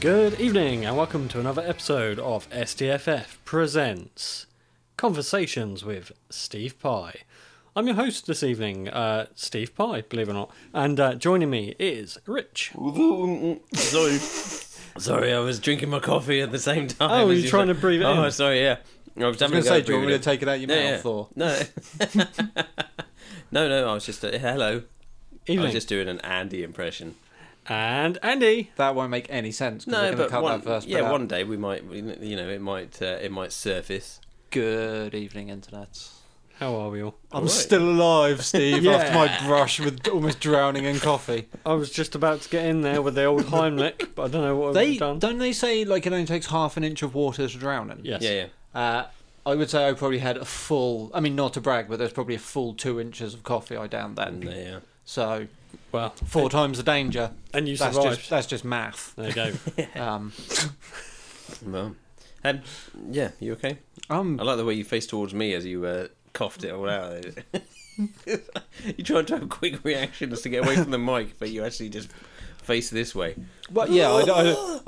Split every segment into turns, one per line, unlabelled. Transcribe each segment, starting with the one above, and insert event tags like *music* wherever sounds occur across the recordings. Good evening, and welcome to another episode of SDFF Presents Conversations with Steve Pye. I'm your host this evening, uh, Steve Pye, believe it or not, and uh, joining me is Rich.
Sorry. sorry, I was drinking my coffee at the same time.
Oh,
as
you're trying to breathe it
Oh,
in.
sorry, yeah. I was,
I was going to say, do you want me to take it out your mouth or?
No. *laughs* no, no, I was just... A, hello. I
Evening.
was just doing an Andy impression.
And Andy.
That won't make any sense. 'cause we're
No,
gonna
but
cut
one,
that first bit
yeah,
out.
one day we might, we- you know, it might, uh, it might surface.
Good evening, internet.
How are we all?
I'm
right.
still alive,
*laughs*
Steve.
Yeah.
After my brush with almost drowning in coffee.
I was just about to get in there with the old Heimlich, but I don't know what
They
we've done.
don't they say like it only takes half an inch of water to drown in.
Yes.
Yeah, yeah.
Uh, I would say I probably had a full. I mean, not to brag, but there's probably a full two inches of coffee I downed
And,
then.
uh, yeah.
So
Well,
four times the danger.
and you
that's
survived.
just that's
*laughs*
just math.
There you
*laughs*
go.
Um,
Well, um, yeah, you okay?
I'm
I like the way you faced towards me as you uh, coughed it all out. *laughs* you tried to have quick reactions to get away from the mic, but you actually just face this way.
Well, yeah, I,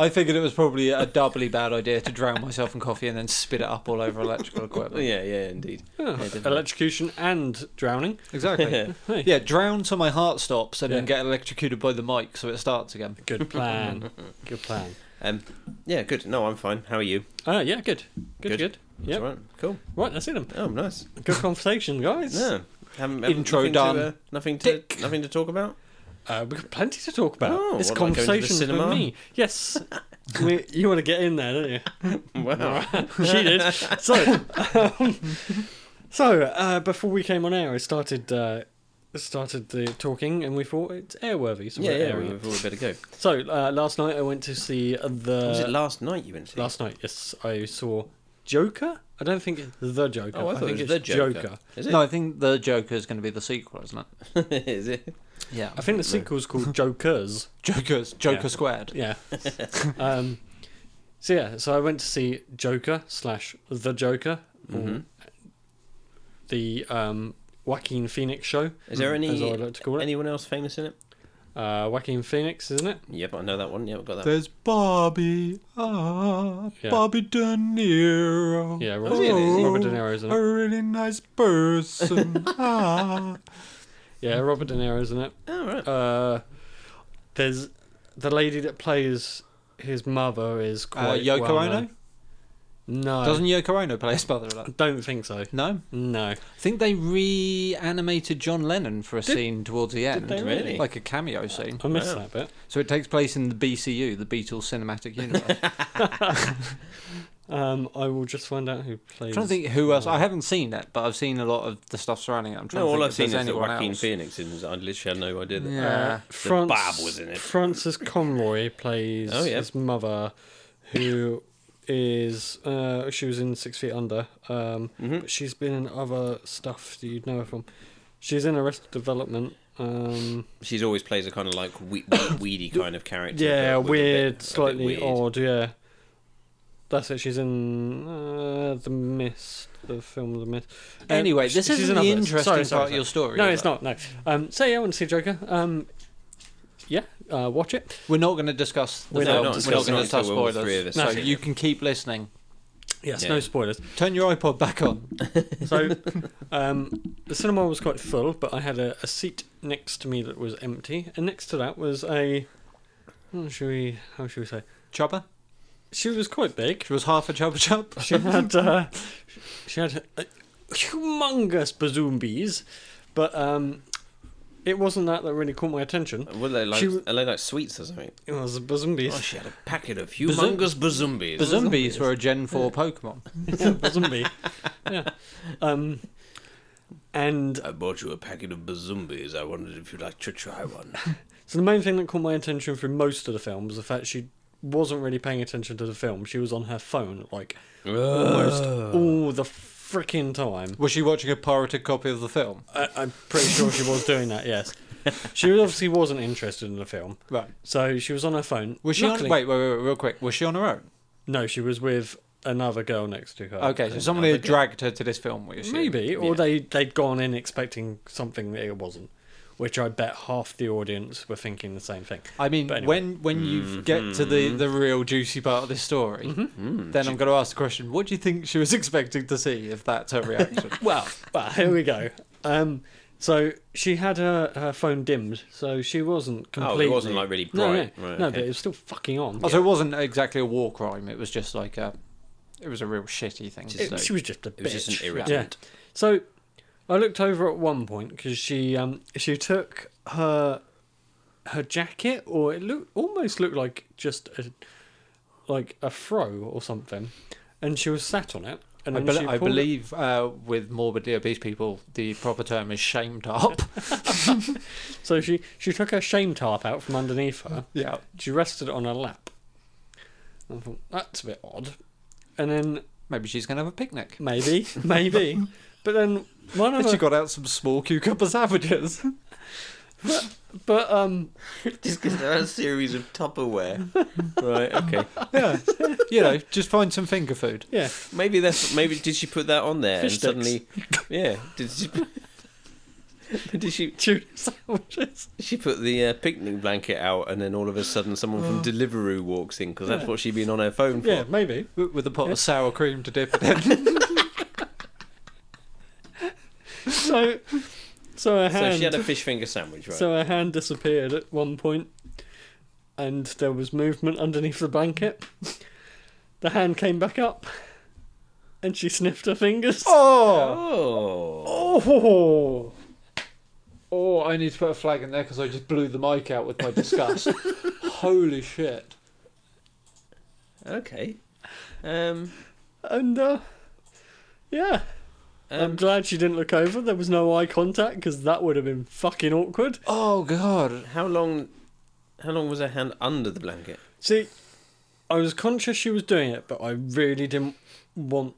I, I figured it was probably a doubly bad idea to drown myself in coffee and then spit it up all over electrical
Oh,
equipment.
yeah, yeah, indeed.
Oh,
Yeah, didn't
electrocution and drowning.
*laughs*
Exactly.
Hey,
Yeah, drown till my heart stops and then
Yeah.
get electrocuted by the mic so it starts again.
Good plan. Good plan.
Um, yeah, good. No, I'm fine. How are you?
Uh, yeah, good. Good,
Good.
good.
That's
Yep.
all right. Cool.
Right, that's it. then.
Oh, nice.
Good conversation, guys.
Yeah. Haven't, haven't-
Intro
nothing
done.
To, uh, nothing to
Dick.
nothing to
*laughs*
talk about.
Uh, we've got plenty to talk about.
Oh,
it's
what, like going to the
conversations
cinema?
with me.
*laughs*
Yes. we, you want to get in there, don't you?
Wow.
*laughs* she did.
*laughs*
So, um, so uh, before we came on air, I started uh, started the talking, and we thought it's airworthy. So
Yeah,
we're
yeah.
airing
We,
it.
we better go.
So uh, last night I went to see the.
was it last night you went to?
Uh, Last night, yes, I saw Joker. I don't think it's the Joker.
Oh, I thought
think
it
it's
was the Joker. Is it?
No, I think the Joker is going to be the sequel, isn't
*laughs*
it?
Is it?
Yeah,
I think the sequel's called Jokers.
Joker's Joker
Yeah.
squared.
Yeah. *laughs* um, so yeah, so I went to see Joker slash the Joker, or
Mm-hmm.
the um, Joaquin Phoenix show.
Is there
Mm-hmm. as I
any
would like to call it.
anyone else famous in it?
Uh, Joaquin Phoenix, isn't it?
Yep, I know that one. Yeah, I've got that.
There's Bobby, ah,
Yeah.
Bobby De Niro.
Yeah,
Oh,
Robert,
yeah, it is.
Robert De Niro's in
a
it.
really nice *laughs* person. ah.
Yeah, Robert De Niro's in it.
Oh, right.
Uh, there's the lady that plays his mother is
Uh,
quite
Yoko
well
Ono?
known. No,
Doesn't Yoko Ono play his mother in that?
don't think so.
No,
No.
I think they reanimated John Lennon for a scene towards the end,
they
really?
like a cameo scene.
I missed
Wow.
that bit.
So it takes place in the BCU, the Beatles Cinematic *laughs* Universe. I'm
Um, I will just find out who plays.
trying to think who else. I haven't seen it, but I've seen a lot of the stuff surrounding it. I'm trying
No,
to
all
think
I've
if
seen is
there's
that
anyone
Joaquin
else.
Phoenix is. I literally had no idea that. uh,
Yeah.
France,
Barb was in it.
Uh, Francis Conroy plays
Oh, yeah.
his mother, who is uh, she was in Six Feet Under. Um, but she's been in other stuff that you'd know her from. She's in Arrested Development. Um,
She's always plays a kind of like we- *coughs* we- weedy kind of character.
yeah,
but with a
weird,
bit- a bit
slightly
weird.
odd. Yeah, that's it. She's in uh, the Mist, the film The Mist. Um,
Anyway,
sh-
this
she's
isn't
in
the
others.
interesting
Sorry, sorry,
part
sorry.
of your story.
No,
is
it's
it?
not. No. Um, so yeah, I want to see Joker. Um, yeah, uh, watch it.
We're not going to discuss. The
We're
we're,
not
not, we're not
discussing
going
it
to discuss
until all
spoilers.
three of us
so
have seen
you
it.
can keep listening.
Yes,
Yeah.
no spoilers.
Turn your iPod back on.
So
*laughs*
um, the cinema was quite full, but I had a, a seat next to me that was empty, and next to that was a. How should we? How should we say?
Chopper.
She was quite big.
*laughs*
She was half a chopper chop.
She had uh, she had uh humongous bazoombies, but um, it wasn't that that really caught my attention.
Were they like,
She w-
are they like sweets or something?
It was the bazoombies.
Oh, she had a packet of humongous bazoombis.
The zombies were a Gen 4 Pokemon.
*laughs* yeah,
*laughs*
bazoombi. yeah. Um, and
I bought you a packet of bazoombis. I wondered if you'd like to
*laughs*
try one.
So the main thing that caught my attention through most of the film was the fact she wasn't really paying attention to the film. She was on her phone like almost all the freaking time.
Was she watching a pirated copy of the film?
I, I'm pretty sure she was doing that. Yes, she obviously wasn't interested in the film,
Right.
so she was on her phone.
Was she on,
Luckily-
wait, wait, wait, wait, real quick. Was she on her own?
No, she was with another girl next to her.
Uh,
Okay, so somebody had dragged her to this film, we assume.
maybe, or
Yeah.
they they'd gone in expecting something that it wasn't, which I bet half the audience were thinking the same thing.
I mean,
But anyway.
when when
Mm-hmm.
you get to the, the real juicy part of this story,
Mm-hmm.
then I'm going to ask the question: What do you think she was *laughs* expecting to see? If that's her reaction,
Well, well, here we go. Um, so she had her, her phone dimmed, so she wasn't
Oh,
completely.
it wasn't like really
no, no,
bright. Right,
no,
okay.
but it was still fucking on.
also it wasn't exactly a war crime. It was just like a, it was a real shitty thing to
Just
It-
do.
like-
she was just a bitch.
was just an irritant.
Yeah. So I looked over at one point because she um she took her her jacket, or it looked almost looked like just a like a fro or something, and she was sat on it. And
I,
then
bel-
she
I
pulled it-
believe uh, with morbidly obese people, the proper term is shamed up.
So she she took her shame tarp out from underneath her.
yeah.
She rested it on her lap. And I thought, that's a bit odd. And then
*laughs* Maybe she's going to have a picnic.
maybe, maybe. But then one of
And she
her,
got out some small cucumber *laughs* sandwiches.
but um
*laughs* Just because they're a series of
*laughs*
Tupperware. right, okay.
yeah
you know, just find some finger food.
yeah
Maybe that's maybe did she put that on there
Fish
and
sticks.
suddenly Yeah. Did she *laughs* Did she
tuna *laughs* sandwiches.
she put the uh, picnic blanket out and then all of a sudden someone from Deliveroo walks in because that's what she'd been on her phone for.
Oh. Yeah, maybe.
With with a pot
Yeah.
of sour cream to dip it *laughs* in.
So so her
So
hand
she
so,
had a fish finger sandwich, right?
her hand disappeared at one point and there was movement underneath the blanket. The hand came back up and she sniffed her fingers.
oh!
oh.
*laughs*
Oh! Oh, I need to put a flag in there because I just blew the mic out with my *laughs* disgust. Holy shit.
Oh. Okay. Um,
And uh yeah. I'm
um
glad she didn't look over. There was no eye contact because that would have been fucking awkward.
Oh,
Um.
God.
how long how long was her hand under the blanket?
See, I was conscious she was doing it, but I really didn't want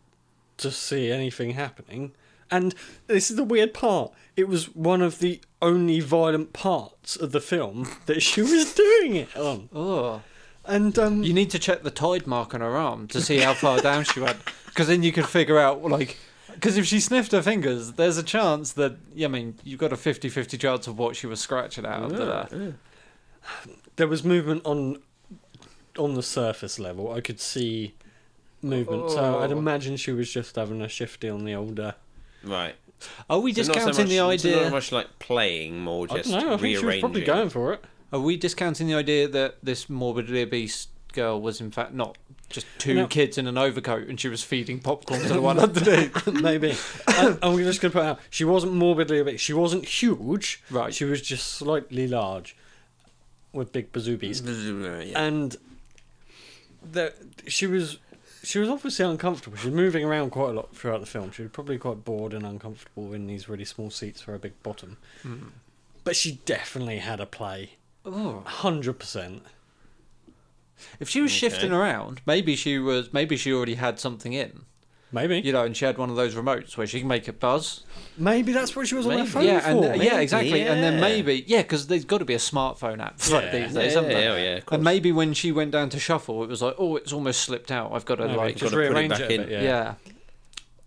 to see anything happening. And this is the weird part. It was one of the only violent parts of the film *laughs* that she was doing it on.
Oh.
And um,
You need to check the tide mark on her arm to see how far down she went, because then you can figure out like. Because if she sniffed her fingers, there's a chance that I mean you've got a 50-50 chance of what she was scratching out of there.
there was movement on on the surface level. I could see movement, so I'd
Oh.
imagine she was just having a shifty on the older.
Right.
Are we
So not so
discounting the
much- so
idea?
Not much like playing, more
I
just
don't know. I think she was
rearranging.
probably going for it.
Are we discounting the idea that this morbidly obese girl was in fact not just two
No.
kids in an overcoat and she was feeding popcorn to the one
*laughs*
underneath?
Maybe. I, I'm just going to put it out. She wasn't morbidly obese. She wasn't huge.
Right.
She was just slightly large with big bazoobies.
*laughs* Mm, Yeah.
And
The-
she was she was obviously uncomfortable. She was moving around quite a lot throughout the film. She was probably quite bored and uncomfortable in these really small seats for her big bottom. But she definitely had a play.
Oh.
100%.
If she was shifting around, maybe she was. Maybe she already had something in,
Maybe.
you know, and she had one of those remotes where she can make it buzz.
Maybe that's what she was on her
Maybe.
phone
yeah, and uh,
for.
yeah, exactly. And then
yeah.
maybe, yeah, because there's got to be a smartphone app for
Yeah.
like these
yeah,
days,
yeah,
haven't there?
yeah, yeah, of course.
and maybe when she went down to shuffle, it was like, oh, it's almost slipped out. I've got to
Maybe.
like,
just
gotta put it
rearrange
back
it, a
in.
bit,
yeah.
yeah. Yeah,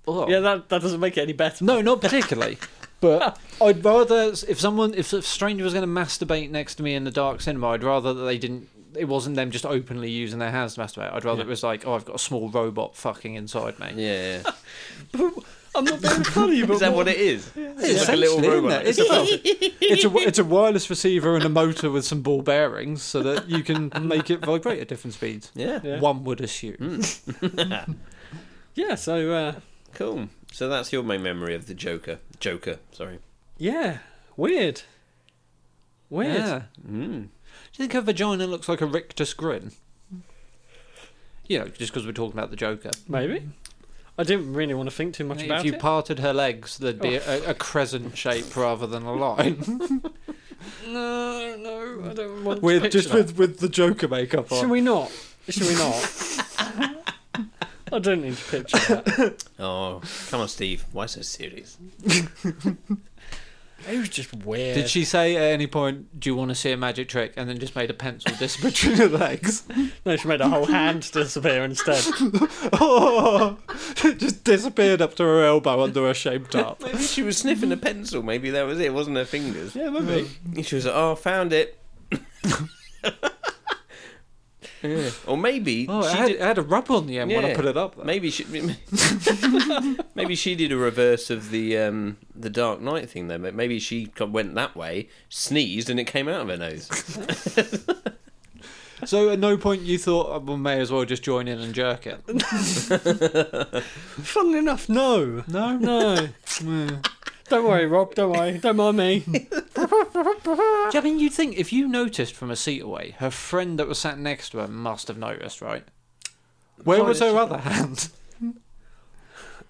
Oh.
that, that doesn't make it any better.
No, not particularly. but I'd rather if someone, if a stranger was going to masturbate next to me in the dark cinema, I'd rather that they didn't. It wasn't them just openly using their hands to masturbate. I'd rather
Yeah.
it was like, oh, I've got a small robot fucking inside me.
yeah,
*laughs*
yeah.
I'm not *laughs* being funny, but
Is that
what-
what it is?
It's
It's like a little
essentially,
robot.
isn't it? It's, a, it's, a, it's a wireless receiver and a motor with some ball bearings so that you can make it vibrate at different speeds.
Yeah,
Yeah.
One would assume.
Yeah, so uh,
cool. So that's your main memory of the Joker. Joker, sorry.
yeah, weird, weird.
Yeah.
Mm.
Do you think her vagina looks like a rictus grin? You know, just because we're talking about the Joker.
Maybe I didn't really want to think too much
If
about
you
it.
parted her legs, there'd be a, a crescent shape rather than a line.
no, no, I don't want. to
with
picture
just
that.
with, with the Joker makeup
Should
on.
we not? Should we not? *laughs* I don't need to picture that.
Oh, come on, Steve. Why so serious?
It was just weird.
Did she say at any point, "Do you want to see a magic trick?" and then just made a pencil disappear between her legs?
No, she made her whole hand disappear instead.
Oh, *laughs* it just disappeared up to her elbow under her shaved *laughs* top.
Maybe she was sniffing a pencil. Maybe that was it. It wasn't her fingers.
Yeah, maybe.
She was like, oh, found it. Yeah. Or maybe
Oh, it
she
had,
did,
it had a rub on the end when I
Yeah.
put it up. Though.
maybe she *laughs* maybe she did a reverse of the um, the Dark Knight thing though. But Maybe she co- went that way, sneezed, and it came out of her
*laughs*
nose.
So at no point you thought, oh, "We may as well just join in and jerk it."
*laughs* Funnily enough, no.
No,
No. don't worry, Rob. Don't worry. Don't mind me.
Do you- I mean, you'd think if you noticed from a seat away, her friend that was sat next to her must have noticed, right? Where
Why
was
did
her
she-
other hand?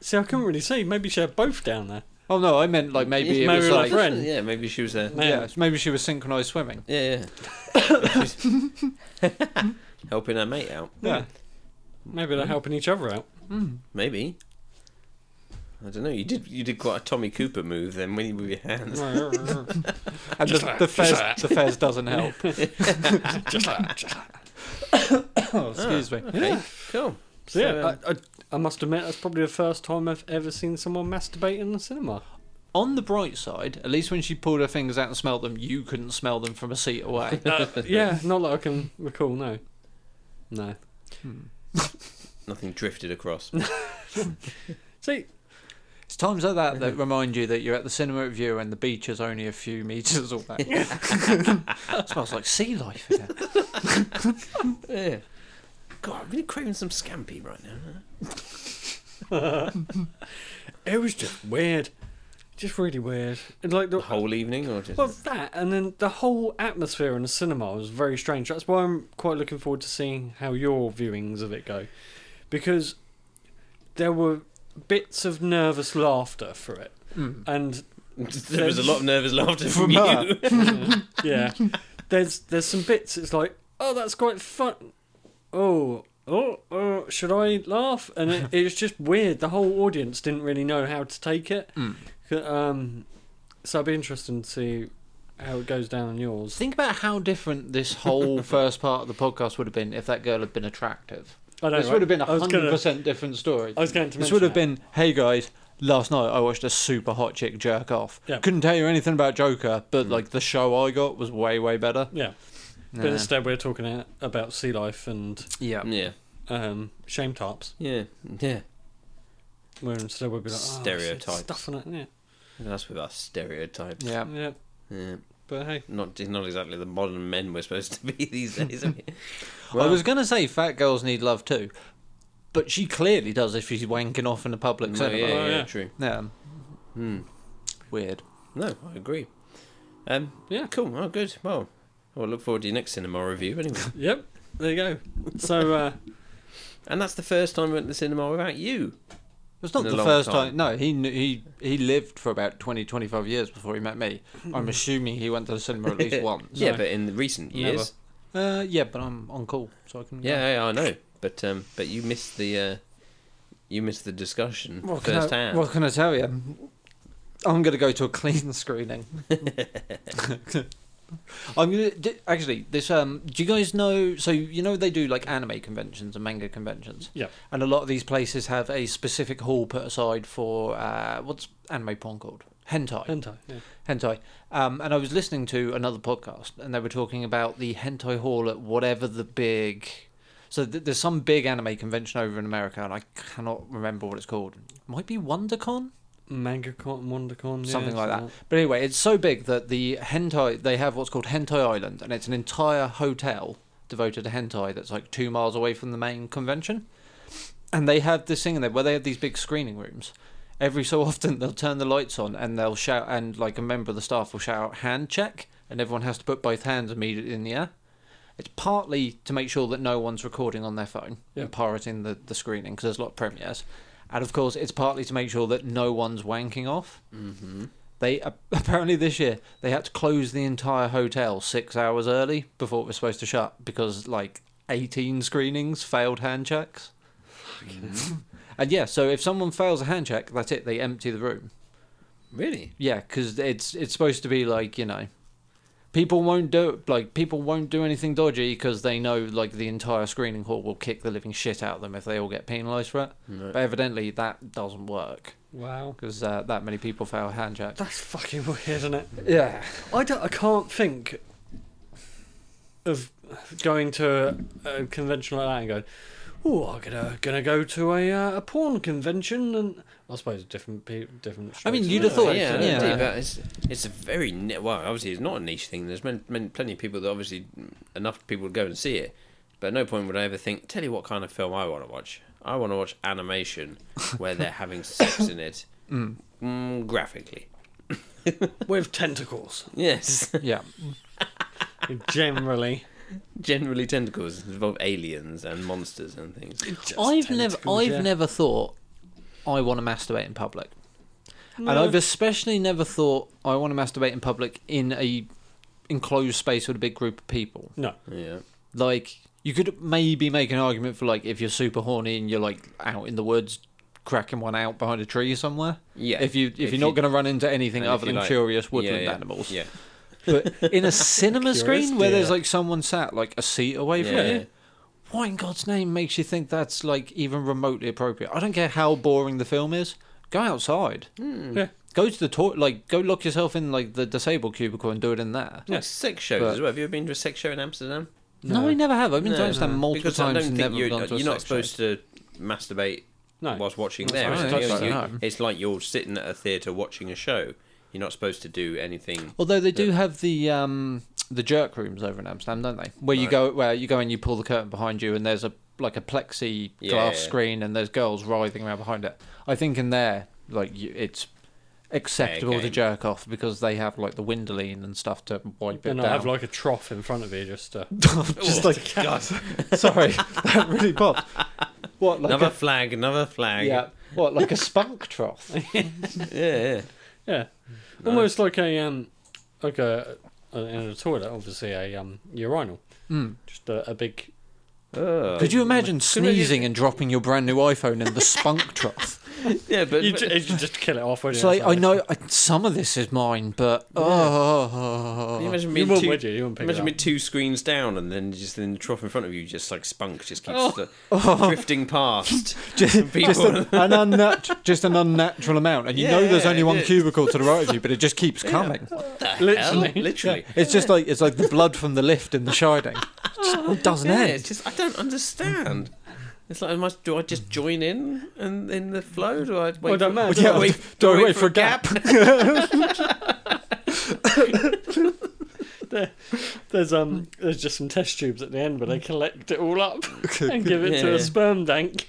See, I couldn't really see. Maybe she had both down there.
Oh *laughs* no, I meant like maybe
Yeah,
it
maybe
was
we were
like
friend.
Yeah, maybe she was there.
friends.
yeah, maybe she was synchronized *laughs* swimming.
Yeah, *laughs*
*laughs*
yeah. helping her mate out.
Yeah,
Maybe they're helping each other *laughs* out.
Maybe. I don't know. You did you did quite a Tommy Cooper move then when you move
*laughs*
your hands.
just
and
Just
the,
like-
the
just
fez
like-
the fez doesn't help.
like, just like.
Oh, excuse me. *laughs*
Okay, cool.
So, yeah,
So, um,
I, I, I must admit that's probably the first time I've ever seen someone masturbate in the cinema.
On the bright side, at least when she pulled her fingers out and smelled them, you couldn't smell them from a
*laughs*
seat away. *laughs*
Uh, yeah, not that I can recall. No, no.
Hmm.
Nothing drifted across.
*laughs* See,
It's times like that that remind you that you're at the cinema at view and the beach is only a few meters away.
*laughs*
*laughs* smells like sea life again.
yeah. God, I'm really craving some scampi right now.
it was just weird, just really weird. And like
The
the
whole evening or just
well that, and then the whole atmosphere in the cinema was very strange. That's why I'm quite looking forward to seeing how your viewings of it go, because there were bits of nervous laughter for it,
Mm.
and
*laughs* there was a lot of nervous laughter from,
From her.
you.
uh, yeah. There's there's some bits. It's like, oh, that's quite fun. Oh, oh, oh should I laugh? And it, it's just weird. The whole audience didn't really know how to take it.
Mm.
Um, so it'd be interesting to see how it goes down on yours.
Think about how different this
*laughs*
whole first part of the podcast would have been if that girl had been attractive.
I know,
this would have been a
I was
hundred
gonna-
percent different story.
I was going to.
This
mention
would have
that.
been, hey guys, last night I watched a super hot chick jerk off.
Yeah. Mm.
Couldn't tell you anything about Joker, but like the show I got was way way better.
Yeah, but
Yeah.
instead we're talking a- about sea life and
Yeah.
yeah,
um, shame tops.
*laughs* yeah, yeah.
Where instead we'll be like oh, I said
Stereotypes.
stuff on it. Yeah,
That's with our stereotypes.
Yeah.
yeah.
Yeah.
But hey,
Not not exactly the modern men we're supposed to be *laughs* these days. are we?
I was gonna say fat girls need love too, but she clearly does if she's wanking off in the public
no, yeah,
cinema.
yeah,
Oh, yeah.
true.
Yeah.
Hmm.
Weird.
No, I agree. Um,
Yeah.
cool. Oh, good. Well, I'll look forward to your next cinema review anyway.
yep. There you go. So.
*laughs*
uh
and that's the first time we went to the cinema without you.
It's not
In a
the
long
first
time.
time. No, he knew, he he lived for about 20, 25 years before he met me. I'm assuming he went to the cinema at least once.
Hmm. *laughs* Yeah, but in the recent
Never.
years.
Uh, yeah, but I'm on call, so I can.
Yeah, yeah, I know. But um, but you missed the uh, you missed the discussion
What can,
first
I,
hand.
what can I tell you? I'm going to go to a
*laughs*
clean *laughs* screening. I'm going to actually this. Um, do you guys know? So you know they do like anime conventions and manga conventions.
Yeah.
And a lot of these places have a specific hall put aside for uh, what's anime porn called? Hentai.
Hentai. Yeah.
hentai. Um, and I was listening to another podcast, and they were talking about the hentai hall at whatever the big. So th- there's some big anime convention over in America, and I cannot remember what it's called. might be WonderCon,
MangaCon, WonderCon, yeah,
something like that. But anyway, it's so big that the hentai they have what's called Hentai Island, and it's an entire hotel devoted to hentai that's like two miles away from the main convention. And they have this thing in there where they have these big screening rooms. Every so often, they'll turn the lights on and they'll shout, and like a member of the staff will shout, "Hand check," and everyone has to put both hands immediately in the air. It's partly to make sure that no one's recording on their phone
Yeah.
and pirating the, the screening because there's a lot of premieres. And of course, it's partly to make sure that no one's wanking off.
Mm-hmm.
They a- *laughs* apparently this year they had to close the entire hotel six hours early before it was supposed to shut because like eighteen screenings failed hand checks. and yeah, so if someone fails a hand check, that's it. They empty the room.
Really?
Yeah, because it's it's supposed to be like you know, people won't do like people won't do anything dodgy because they know like the entire screening hall will kick the living shit out of them if they all get penalised for it. But evidently that doesn't work
Wow.
because uh, that many people fail
*laughs*
handjack.
That's fucking weird, isn't it?
Yeah,
I, don't, I can't think of going to a convention like that and going, oh, I'm gonna gonna go to a uh, a porn convention and I suppose different pe- different.
I mean,
strokes
you'd
for
have thought-
different
yeah,
folks, isn't
yeah.
indeed,
it?
but it's, it's a very ni- well. Obviously, it's not a niche thing. There's men, men, plenty of people that obviously enough people to go and see it. But at no point would I ever think. Tell you what kind of film I want to watch. I want to watch animation where they're having
*laughs*
sex in it, mm, graphically.
with tentacles
*laughs* Yes,
yeah.
*laughs* generally.
generally tentacles involve aliens and monsters and things.
Just
I've never
tentacles,
I've
yeah.
never thought I want to masturbate in public. And
No.
I've especially never thought I want to masturbate in public in a enclosed space with a big group of people.
No,
Yeah,
Like you could maybe make an argument for like if you're super horny and you're like out in the woods cracking one out behind a tree somewhere.
yeah.
If you if, you're not going to run into anything
and if
other
you
than
like-
curious woodland
yeah, yeah,
animals.
yeah,
But
*laughs*
in a cinema
Curious
screen where there's
deer.
like someone sat like a seat away from
Yeah.
you, what in God's name makes you think that's like even remotely appropriate? I don't care how boring the film is. Go outside.
Yeah.
Go to the toilet. Like go lock yourself in like the disabled cubicle and do it in there.
Like sex shows
But-
as well. Have you ever been to a sex show in Amsterdam?
No,
No.
I never have. I've been
No,
to Amsterdam multiple
because I
times
don't
and
think
never
you're,
gone to a
you're not
sex
supposed to masturbate
No.
whilst watching
That's
there.
right.
It's,
That's
you-
right.
you- it's like you're sitting at a theatre watching a show. You're not supposed to do anything.
Although they do have the um, the jerk rooms over in Amsterdam, don't they? Where you
Right.
go, where you go and you pull the curtain behind you, and there's a like a plexiglass
Yeah.
screen, and there's girls writhing around behind it. I think in there, like you, it's acceptable
Okay.
to jerk off because they have like the windoline and stuff to wipe it
And
down.
I have like a trough in front of you just to.
Just like sorry, that really popped. What like
another
a,
flag, another flag.
yeah? What like a spunk
*laughs*
trough?
yeah, yeah.
Yeah, almost like a um, like a uh, in a toilet, obviously a um urinal,
Mm.
just a, a big.
Oh.
Could you imagine
Couldn't you-
sneezing and dropping your brand new iPhone in the
*laughs*
spunk trough?
yeah, but
You, ju- you just kill it off. wouldn't
It's
you?
like I know I, some of this is mine, but oh,
can you imagine
You
being
wouldn't,
two,
would you? You wouldn't pick it
imagine
up.
being two screens down and then just in the trough in front of you, just like spunk, just keeps uh, drifting past.
Oh. *laughs* just,
people-
just an, an unnat- just an unnatural amount, and you know there's
Yeah,
only one
it is.
cubicle to the right of you, but it just keeps coming.
Literally.
Hell, *laughs* literally.
It's just like it's like the blood from the lift in the Shining. It just-
Oh,
it doesn't
Yeah,
end.
it's just I don't understand. It's like, am I, do I just join in and in the flow? Do I wait?
Well, it don't
for-
matter,
do
does
I
it?
wait,
*laughs* do I wait for a gap? *laughs*
There's um, there's just some test tubes at the end, where they collect it all up and give it to
Yeah.
a sperm bank.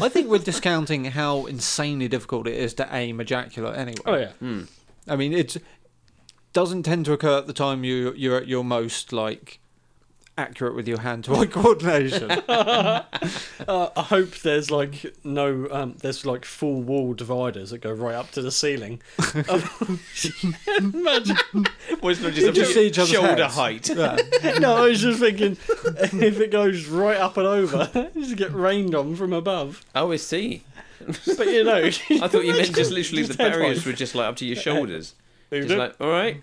I think we're discounting how insanely difficult it is to aim ejaculate. Anyway,
Oh yeah,
Hmm. I mean, it doesn't tend to occur at the time you you're at your most like accurate with your hand to eye *laughs* coordination.
*laughs* uh, I hope there's like no um, there's like full wall dividers that go right up to the ceiling.
*laughs*
Um, Imagine
Well, it's not just,
You just see each other's
shoulder
heads.
height.
Yeah.
no, I was just thinking if it goes right up and over, *laughs* you just get rained on from above.
*laughs* Oh, I *laughs* see.
But you know,
*laughs* I thought you meant just literally the
Just head
barriers
height.
were just like up to *laughs* your shoulders.
Who
Just
knew?
like, all *laughs* right.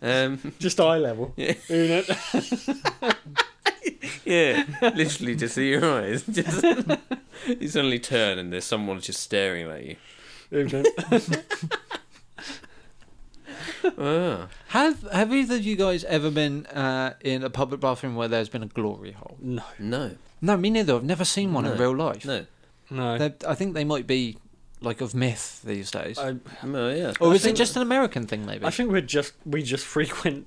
Um, *laughs*
just eye level.
Yeah.
Who knew?
yeah, *laughs* literally just see your eyes. *laughs* Just, you suddenly turn and there's someone just staring at *laughs* you.
Who knew?
Ah.
Have Have either of you guys ever been uh, in a public bathroom where there's been a glory hole?
No,
No,
No, me neither. I've never seen one
No.
in real life.
no.
no.
They're- I think they might be like of myth these days.
Um,
I,
No, Oh, yeah.
or
I
is it
think-
just an American thing? Maybe.
I think we're just we just frequent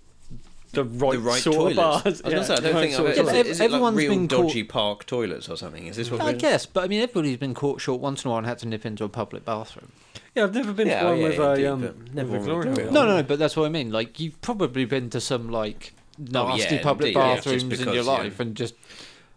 the right,
the right
sort
toilets.
of bars.
I was gonna say, I
the
don't
right
think I've
sort of
is,
toilets.
it- is it like
Everyone's
real
been caught-
dodgy park toilets or something? Is this what
I
we're-
guess, but I mean, everybody's been caught short once in a while and had to nip into a public bathroom.
Yeah, I've never been
Yeah,
to
oh,
one
yeah,
with
yeah,
a
indeed,
um,
but never
with a
one
glory
with
hole.
a
No, no, no, but that's what I mean. Like, you've probably been to some like
Oh,
nasty
yeah,
public
indeed, yeah, just
bathrooms in
because,
your
yeah.
life, and just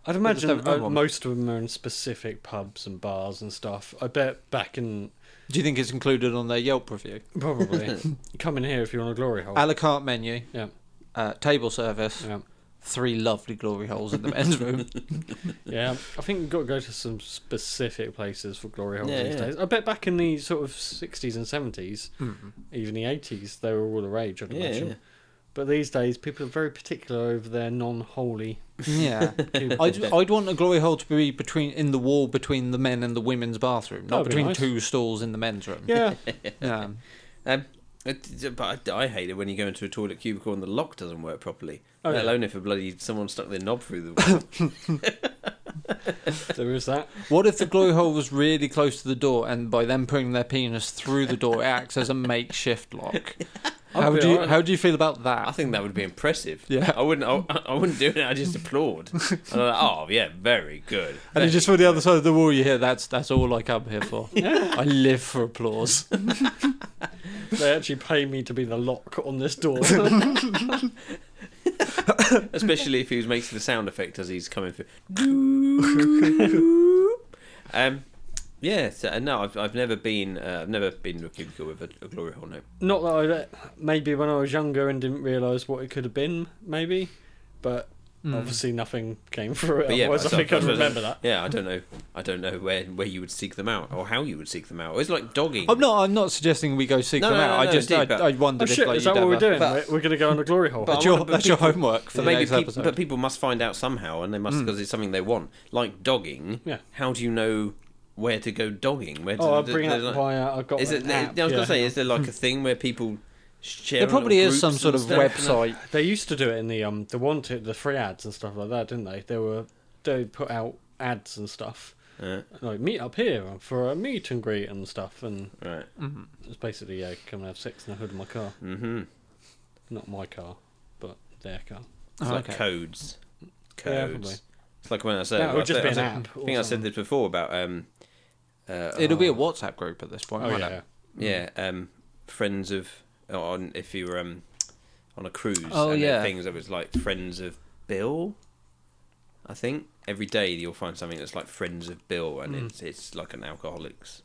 I'd
Just
imagine
have one
uh,
one.
most of them are in specific pubs and bars and stuff. I bet back in
do you think it's included on their Yelp review?
*laughs* Oh.
probably come in here if you want a glory hole.
A la carte menu,
yeah,
uh, table service,
yeah.
three lovely glory holes in the
*laughs*
men's room.
Yeah, I think you've got to go to some specific places for glory holes
Yeah,
these
yeah.
days. I bet back in the sort of 60s and 70s,
Mm-hmm.
even the 80s, they were all the rage, I'd
Yeah,
imagine.
yeah.
But these days, people are very particular over their non holy.
*laughs*
Yeah, I'd, I'd want a glory hole to be between in the wall between the men and the women's bathroom, not
That'd be
between
nice.
two stalls in the men's room.
Yeah,
yeah.
Um, it- but I, I hate it when you go into a toilet cubicle and the lock doesn't work properly.
Oh,
let
yeah.
alone if a bloody someone stuck their knob through the wall.
there is that.
What if the glory hole was really close to the door, and by them putting their penis through the door, it acts as a
*laughs*
makeshift lock? How
I'd
would
be
you
alright.
How do you feel about that?
I think that would be impressive.
Yeah.
I wouldn't. I, I wouldn't do it. I just applaud. And I'm like, oh yeah, very good.
and you just from the other side of the wall, you hear that's that's all I come here for. I live
*laughs*
for applause.
They actually pay me to be the lock on this
*laughs*
door.
Especially if he was making the sound effect as he's coming through. um, yeah. So, and no, I've, I've never been. Uh, I've never been to a cubicle with a, a glory hole. No.
Not that I maybe when I was younger and didn't realise what it could have been, maybe, but obviously nothing came through it.
Hmm. But yeah,
Otherwise,
but
I think
I
I'd
suppose-
remember that.
Yeah, I don't know. I don't know where where you would seek them out or how you would seek them out. It's like dogging.
I'm not. I'm not suggesting we go seek
No,
them
no,
out.
no,
I
no,
just.
indeed, but-
I, I wondered
Oh shit,
if like,
is that
you'd
what we're
ever-
doing?
But-
we're we're going to go on a glory hole.
But
That's
I
your,
wonder, but
that's your
people-
homework for
But
the
maybe
next
peop-
episode. Mm.
but people must find out somehow, and they must because it's something they want, like dogging.
Yeah.
How do you know where to go dogging? Where
*laughs*
to,
oh, I'll
th-
bring
there's
that
like-
via. I've got
Is it?
an app,
I was
yeah.
gonna say, is there like a thing where people share?
Hmm. there probably
little
is some
groups
sort
and
of
stuff, and
website.
They used to do it in the um the wanted the free ads and stuff like that, didn't they? They were they put out ads and stuff
that-
like meet up here for a meet and greet and stuff, and
Uh, right.
Mm,
it's basically yeah, come and have sex in the hood of my car,
Mm-hmm.
not my car, but their car.
It's
Oh,
like
okay.
codes.
Yeah,
Codes.
probably.
it's like when I said
That would
I
just
said-
be
I
an
said-
app
I
or
think I said
something.
this before about um. Uh,
It'll be a
oh,
WhatsApp group at this point.
Oh
won't
yeah,
it?
yeah.
yeah.
Mm.
Um, friends of on if you were um on a cruise.
Oh,
and there were
yeah.
Things that was like friends of Bill. I think every day you'll find something that's like friends of Bill,
Mm.
and it's it's like an alcoholics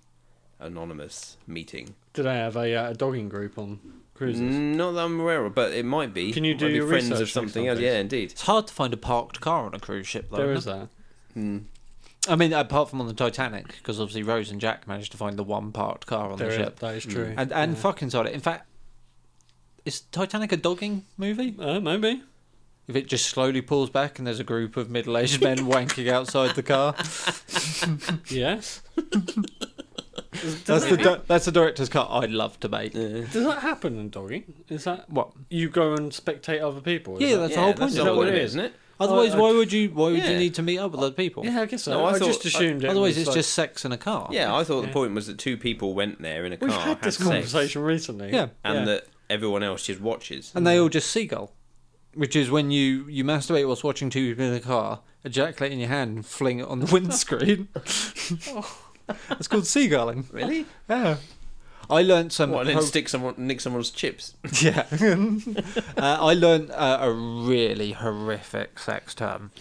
anonymous meeting. Mm,
Do they have a, uh, a dogging group on cruises?
Mm,
Not that I'm aware of, but it might be.
Can you
It
do
might be
your
friends
research
of
next
something
time,
else? Yeah, indeed.
It's hard to find a parked car on a cruise ship, though.
There
isn't
is
it?
that.
I mean, apart from on the Titanic, because obviously Rose and Jack managed to find the one parked car on
There
the
is,
ship, Mm.
that is true.
and and fucking sold it. In fact, is Titanic a dogging movie?
uh, maybe.
If it just slowly pulls back and there's a group of middle-aged
*laughs*
men wanking outside the car,
Yes.
that's the di- that's the director's cut. I'd love to make.
Does that happen in dogging? Is that
What?
you go and spectate other people? is
Yeah,
it?
that's the whole point.
That's
Is
the
that
whole
what
point,
it is?
isn't it?
Otherwise,
I- I-
why would you? Why would
Yeah.
you need to meet up with other people?
Yeah, I guess so.
No,
I,
I thought-
just assumed it.
Otherwise,
was
it's
like-
just sex in a car.
Yeah, I thought
Yeah.
the point was that two people went there in a
We've
car,
had this
sex,
conversation recently.
Oh, Yeah.
and
yeah.
that everyone else just watches.
and they all just seagull, which is when you you masturbate whilst watching TV in the car, ejaculate in your hand, and fling it on the
*laughs*
*laughs* windscreen. It's called seagulling.
Really?
Yeah, I learnt some.
What? And then
ho-
stick someone, nick someone's chips.
*laughs* yeah, *laughs* uh, I learnt uh, a really horrific sex term.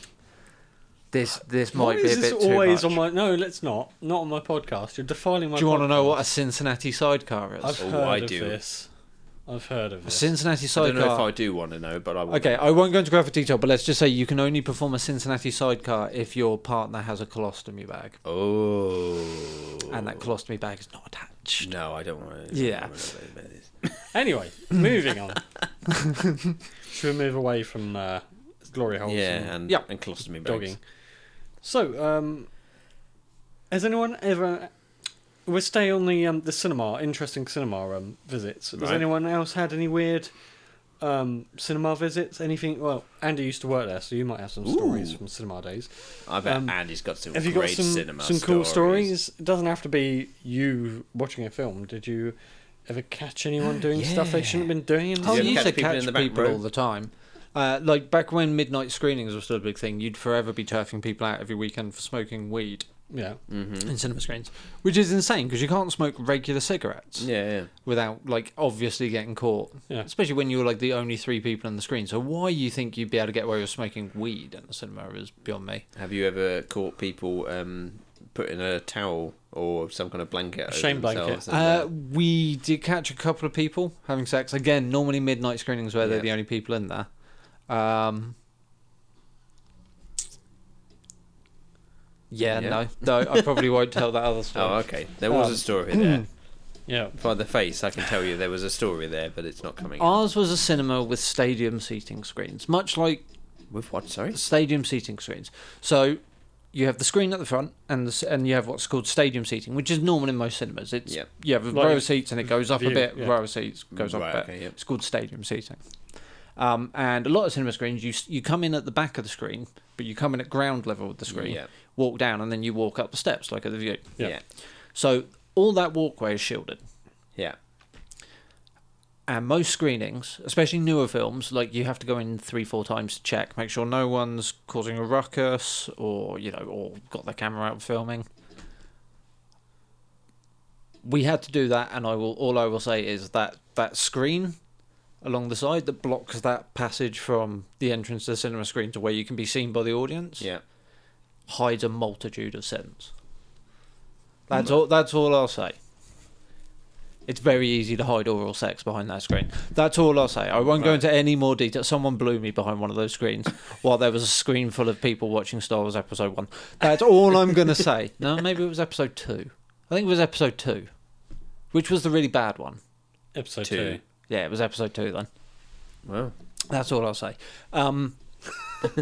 This this
Why
might be a
is this
bit too
always
much.
on my? No, let's not. Not on my podcast. You're defiling my.
Do you want to
podcast.
know what a Cincinnati sidecar is?
I've
Oh,
heard
I
of
do.
this. I've heard of
a
this.
Cincinnati
I
sidecar.
don't know if I do want to know, but I will.
Okay, I won't go into graphic detail, but let's just say you can only perform a Cincinnati sidecar if your partner has a colostomy bag,
Oh.
and that colostomy bag is not attached.
No, I don't want to.
Yeah. *laughs*
Anyway, moving on. Should we move away from uh, glory holes? and-
Yeah, and
Yep.
and colostomy bags.
dogging. So, um, has anyone ever? We'll stay on the um, the cinema, interesting cinema um, visits. Has
Right.
anyone else had any weird um, cinema visits? Anything? Well, Andy used to work there, so you might have some stories
Ooh.
from cinema days.
I bet
Um,
Andy's got some
Have you got
great
some
cinema
some cool stories? It doesn't have to be you watching a film. Did you ever catch anyone
*gasps*
doing stuff they shouldn't have been doing? In the
Oh,
you
you
ever
cinema?
used to
catch people in
catch
the
people,
back row?
all the time. Uh, like back when midnight screenings were still a big thing, you'd forever be turfing people out every weekend for smoking weed
yeah.
Hmm.
in cinema screens, which is insane because you can't smoke regular cigarettes
Yeah, yeah.
without like obviously getting caught.
Yeah.
Especially when you're like the only three people on the screen. So why you think you'd be able to get away with smoking weed in the cinema is beyond me.
Have you ever caught people um, putting a towel or some kind of blanket? over
Shame blanket.
themselves and,
Uh, we did catch a couple of people having sex again. Normally midnight screenings where they're
Yeah.
the only people in there. Um, Yeah,
Yeah.
no, no, I probably won't tell that other story.
Oh, okay. There was
Um,
a story there.
Yeah.
By the face, I can tell you there was a story there, but it's not coming. out.
*laughs* Ours was a cinema with stadium seating screens, much like
With what? Sorry.
stadium seating screens. So you have the screen at the front, and the, s- and you have what's called stadium seating, which is normal in most cinemas. It's
Yep.
you have a
Like
row of seats, and it goes up a
view,
bit.
yeah.
Row of seats goes up
Right,
a bit.
okay, yep.
It's called stadium seating. Um, and a lot of cinema screens, you s- you come in at the back of the screen, but you come in at ground level of the screen,
Yep.
walk down, and then you walk up the steps like at the view.
Yeah.
Yeah.
So all that walkway is shielded.
Yeah.
and most screenings, especially newer films, like you have to go in three, four times to check, make sure no one's causing a ruckus or, you know, or got their camera out filming. We had to do that, and I will. All I will say is that that screen along the side that blocks that passage from the entrance to the cinema screen to where you can be seen by the audience
Yeah.
hides a multitude of sins. That's all. That's all I'll say. It's very easy to hide oral sex behind that screen. That's all I'll say. I won't go
Right.
into any more detail. Someone blew me behind one of those screens while there was a screen full of people watching Star Wars Episode One. That's all I'm going to say. No, maybe it was Episode Two. I think it was Episode Two, which was the really bad one.
Episode
Two.
two.
Yeah, it was Episode Two then.
Well.
That's all I'll say. Um, *laughs*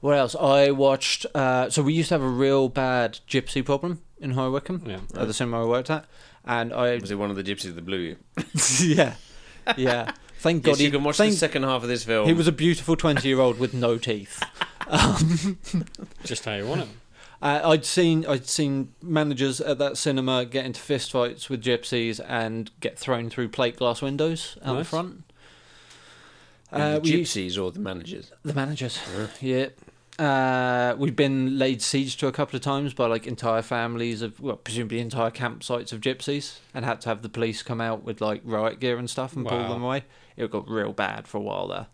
what else? I watched. Uh, so we used to have a real bad gypsy problem in High Wycombe
Yeah.
at the cinema I worked at, and I
Was it one of the gypsies that blew you?
*laughs* yeah, yeah. Thank God
yes,
he
you can watch
thank-
the second half of this film.
He was a beautiful twenty-year-old with no teeth.
Just how you
*laughs*
want it.
Uh, I'd seen I'd seen managers at that cinema get into fistfights with gypsies and get thrown through plate glass windows out the
Nice.
front. Uh,
the
we used-
gypsies or the managers.
The managers. Yeah. Uh, we've been laid siege to a couple of times by like entire families of, well, presumably entire campsites of gypsies, and had to have the police come out with like riot gear and stuff and
Wow.
pull them away. It got real bad for a while there.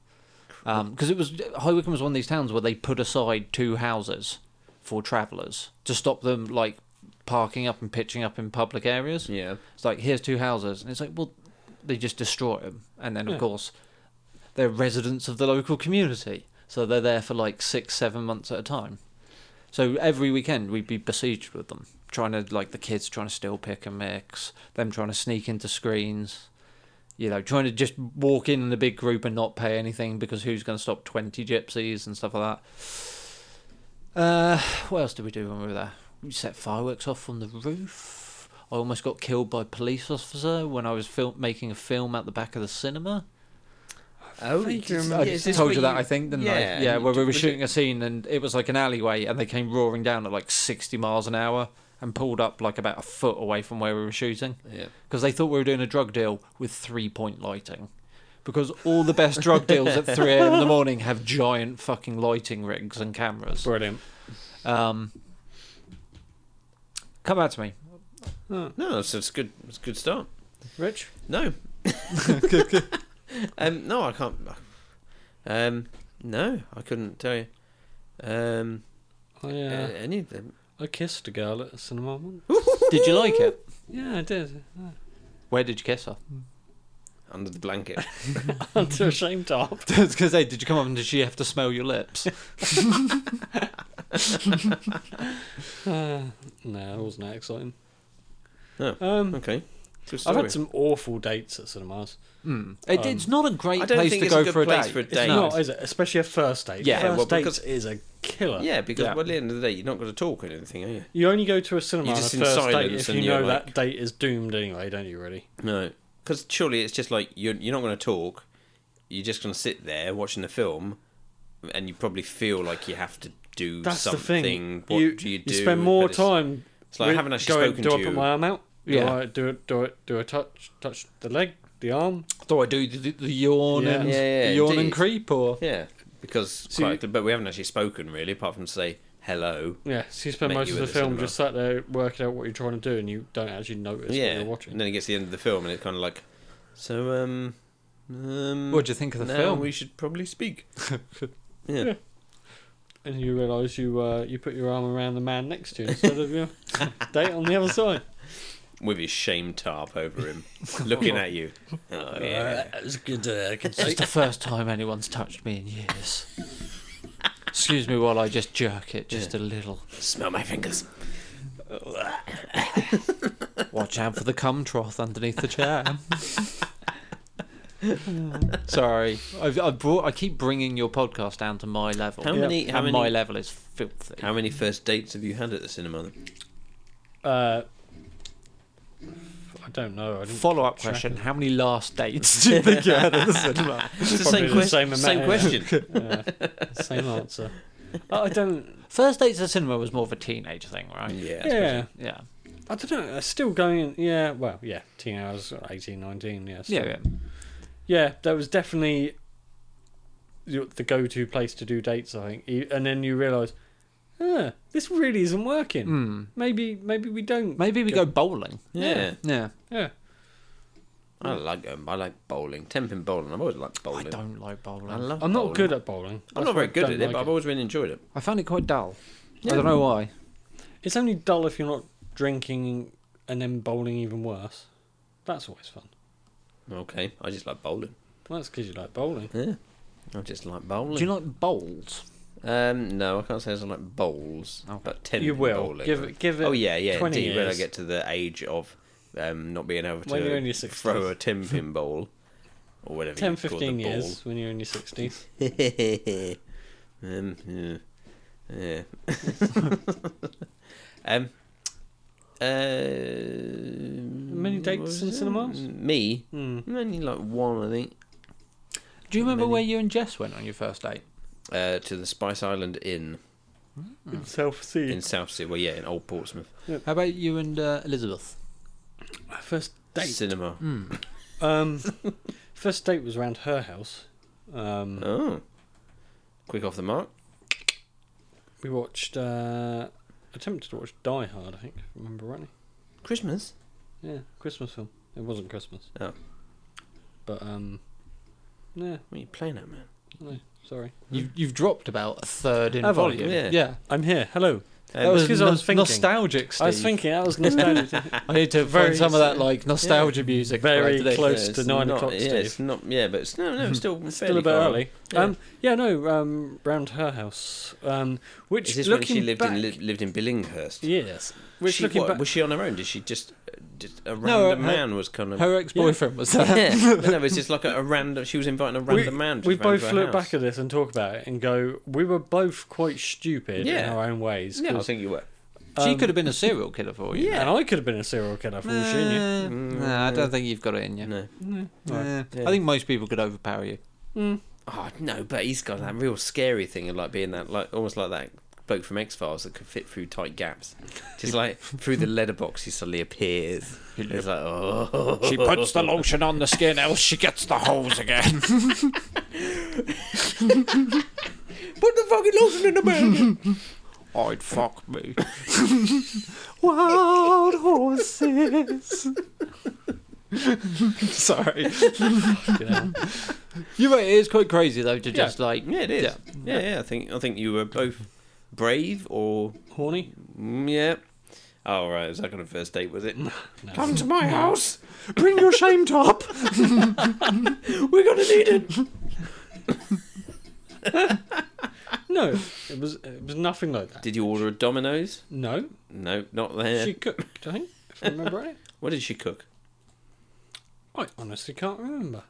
Because it was, High Wycombe was one of these towns where they put aside two houses for travellers to stop them like parking up and pitching up in public areas.
Yeah.
It's like here's two houses, and it's like well, they just destroy them, and then of
Yeah.
course they're residents of the local community, so they're there for like six, seven months at a time. So every weekend we'd be besieged with them, trying to like the kids trying to still pick and mix, them trying to sneak into screens. You know, trying to just walk in in a big group and not pay anything because who's going to stop 20 gypsies and stuff like that? Uh, what else did we do when we were there? We set fireworks off from the roof. I almost got killed by a police officer when I was fil- making a film at the back of the cinema.
Oh,
I told you that, I think, didn't I? Yeah, where we were shooting a scene and it was like an alleyway and they came roaring down at like 60 miles an hour and pulled up like about a foot away from where we were shooting
Yeah.
*laughs* because they thought we were doing a drug deal with three point lighting. Because all the best drug deals at 3 a.m. in the morning have giant fucking lighting rigs and cameras.
Brilliant.
Um, come back to me.
No, it's, it's good. It's a good start.
Rich? *laughs*
No. um, no, I can't. Um, no, I couldn't tell you. Um,
I,
a-
uh,
any of them.
I kissed a girl at a cinema once.
Did you like it?
Yeah, I *laughs* did. Yeah.
Where did you kiss her? *laughs*
Under the blanket.
Under a shame top.
I was going to say, did you come up and did she have to smell your lips?
*laughs* Uh, no, it wasn't that exciting.
No.
Um,
Okay. Good
I've
story.
had some awful dates at cinemas.
Mm. It,
Um,
it's not a great
I don't
place
think
to
it's a
go
good
for a
place
date.
for a
It's
Date.
not, is it? Especially a first date.
Yeah,
first
well, because-
dates is a killer.
yeah, because
uh, Yeah.
well, at the end of the day, you're not going to talk or anything, are you?
You only go to a cinema
You're
on a
just
first
in
date
silence
if you
and
know
you're
that
like-
date is doomed anyway, don't you? Really?
No, because surely it's just like you're you're not going to talk. You're just going to sit there watching the film, and you probably feel like you have to do
That's the
something.
thing.
What
you,
do you do?
spend more
But it's-
time.
it's like I
with
haven't actually
going,
spoken
do
to
I
you."
put my arm out?
Yeah.
Do I do it? Do it? Do I touch? Touch the leg? The arm?
Do I do the, the yawn
Yeah.
and
Yeah, yeah,
the yawn and
indeed.
creep or?
Yeah, because
So
quite, but we haven't actually spoken really, apart from to say hello.
Yeah. So you spend
Met
most
you
of the
at the
film
cinema.
just sat there working out what you're trying to do, and you don't actually notice what
yeah,
you're
and
watching.
then it gets to the end of the film, and it's kind of like, so um, um
What do you think of the
now
film?
We should probably
*laughs*
speak. yeah.
Yeah. And you realise you uh, you put your arm around the man next to you instead of
*laughs*
your date on the other side.
with his shame tarp
*laughs*
over him, looking at you. Oh, yeah.
that was good. Uh, I can
It's the first time anyone's touched me in years. Excuse me while I just jerk it just a little.
Smell my fingers.
Watch out for the cum trough underneath the chair. *laughs* Sorry, I've, I brought. I keep bringing your podcast down to my level.
How many- how
and
many-
my level is filthy.
How many first dates have you had at the cinema? Then?
Uh, I don't know. I didn't
Follow up
track
question: How many last dates *laughs* do you think you had at the cinema?
It's the
Probably
same,
the
quest-
same amount, *laughs*
same,
yeah.
question.
it. Yeah, uh, same answer. I I don't.
First dates at the cinema was more of a teenage thing, right?
yeah.
Yeah,
Yeah.
I don't know. It's still going. Yeah, well, yeah. Teen hours, 18, 19. Yeah, still.
Yeah. yeah.
yeah. That was definitely the the go-to place to do dates. I think, E- and then you realise, ah, this really isn't working.
Hmm.
Maybe, maybe we don't.
Maybe we go bowling.
Yeah.
Yeah.
Yeah.
Yeah.
I like going. I like bowling. Ten pin bowling. I've always liked
I
bowling.
don't like bowling.
I love
I'm not
bowling.
good at bowling. That's
I'm not
why I
very good at
don't
it,
like
but I've always really enjoyed it.
I found it quite dull. I don't know why.
It's only dull if you're not drinking and then bowling even worse. That's always fun.
Okay, I just like bowling.
Well, that's because you like bowling.
Yeah, I just like bowling.
Do you like bowls?
Um, no, I can't say I like bowls,
Oh.
but ten.
You will.
bowling.
Give it- give it
Oh yeah, yeah.
20
indeed, when I
years.
get to the age of um, not being able to
When you're in your 60s.
throw a ten pin bowl or whatever.
10,
you call
15
the
years when you're in your
*laughs*
60s.
Ball. *laughs* um, yeah, yeah. *laughs* um, uh,
Many dates
what was
in
it?
cinemas?
Me,
Hmm.
only like one, I think.
Do you remember
Many.
where you and Jess went on your first date?
Uh, to the Spice Island Inn Mm.
Self
in
seed.
South Sea. Well, yeah, in Old Portsmouth.
How about you and uh, Elizabeth?
First date.
Cinema. *laughs*
Um, first date was around her house. Um,
Oh. Quick off the mark.
we watched, uh, attempted to watch Die Hard, I think, if I remember rightly.
Christmas?
Yeah, Christmas film. It wasn't Christmas.
Oh.
But, um, yeah,
What are you playing at, man?
no, sorry.
You, you've dropped about a third in
Have I?
volume.
Yeah.
I'm here. Hello.
That
Um,
was
because I
no-
was thinking.
nostalgic. Steve.
I was thinking that
*laughs*
was nostalgic.
I need to
Very-
find some of that like nostalgia music.
Very
related to this.
close. to
it's
nine
not-
o'clock,
Yeah,
Steve. Hmm.
it's not. Yeah, but it's no, no, it's still fairly
Still a bit
far on.
early.
Yeah.
Um, yeah, no, um, round her house. Um, which
Is this when
looking
she lived
back,
in li- lived in Billinghurst?
Yes. Which
she,
looking
what,
back,
was she on her own? Did she just, uh, just a
No,
random
her-
man was kind of?
Her ex-boyfriend was there.
*laughs* yeah, no, it was just like a,
*laughs*
a random. She was inviting a random man.
we both look back at this and talk about it and go, we were both quite stupid in
Yeah.
our own ways.
Yeah, I
'cause-
think you were.
she could have been a serial killer for you.
and I could have been a serial killer for all she knew.
Eh, nah, I don't think you've got it in you.
No.
Eh, I think most people could overpower you.
Oh no, but he's got that real scary thing of like being that like almost like that bloke from X Files that could fit through tight gaps.
*laughs*
Just like through the letterbox he suddenly appears. It's like oh
She puts the lotion on the skin, else she gets the hose again.
Put the fucking lotion in the bag.
I'd fuck me.
*laughs* Wild *laughs* horses. Sorry.
You know?
You're right, it is quite crazy though to
Yeah.
just like
yeah, it is.
Yeah.
Yeah. yeah, I think I think you were both brave or
Horny?
mm, yeah. Oh right, was that on a first date, was it?
*laughs*
Come to my house.
bring your shame top.
We're gonna need it.
No, it was it was nothing like that.
Did you order a Domino's?
No,
No, not there.
she cooked. I think, if I remember right.
What did she cook?
I honestly can't remember.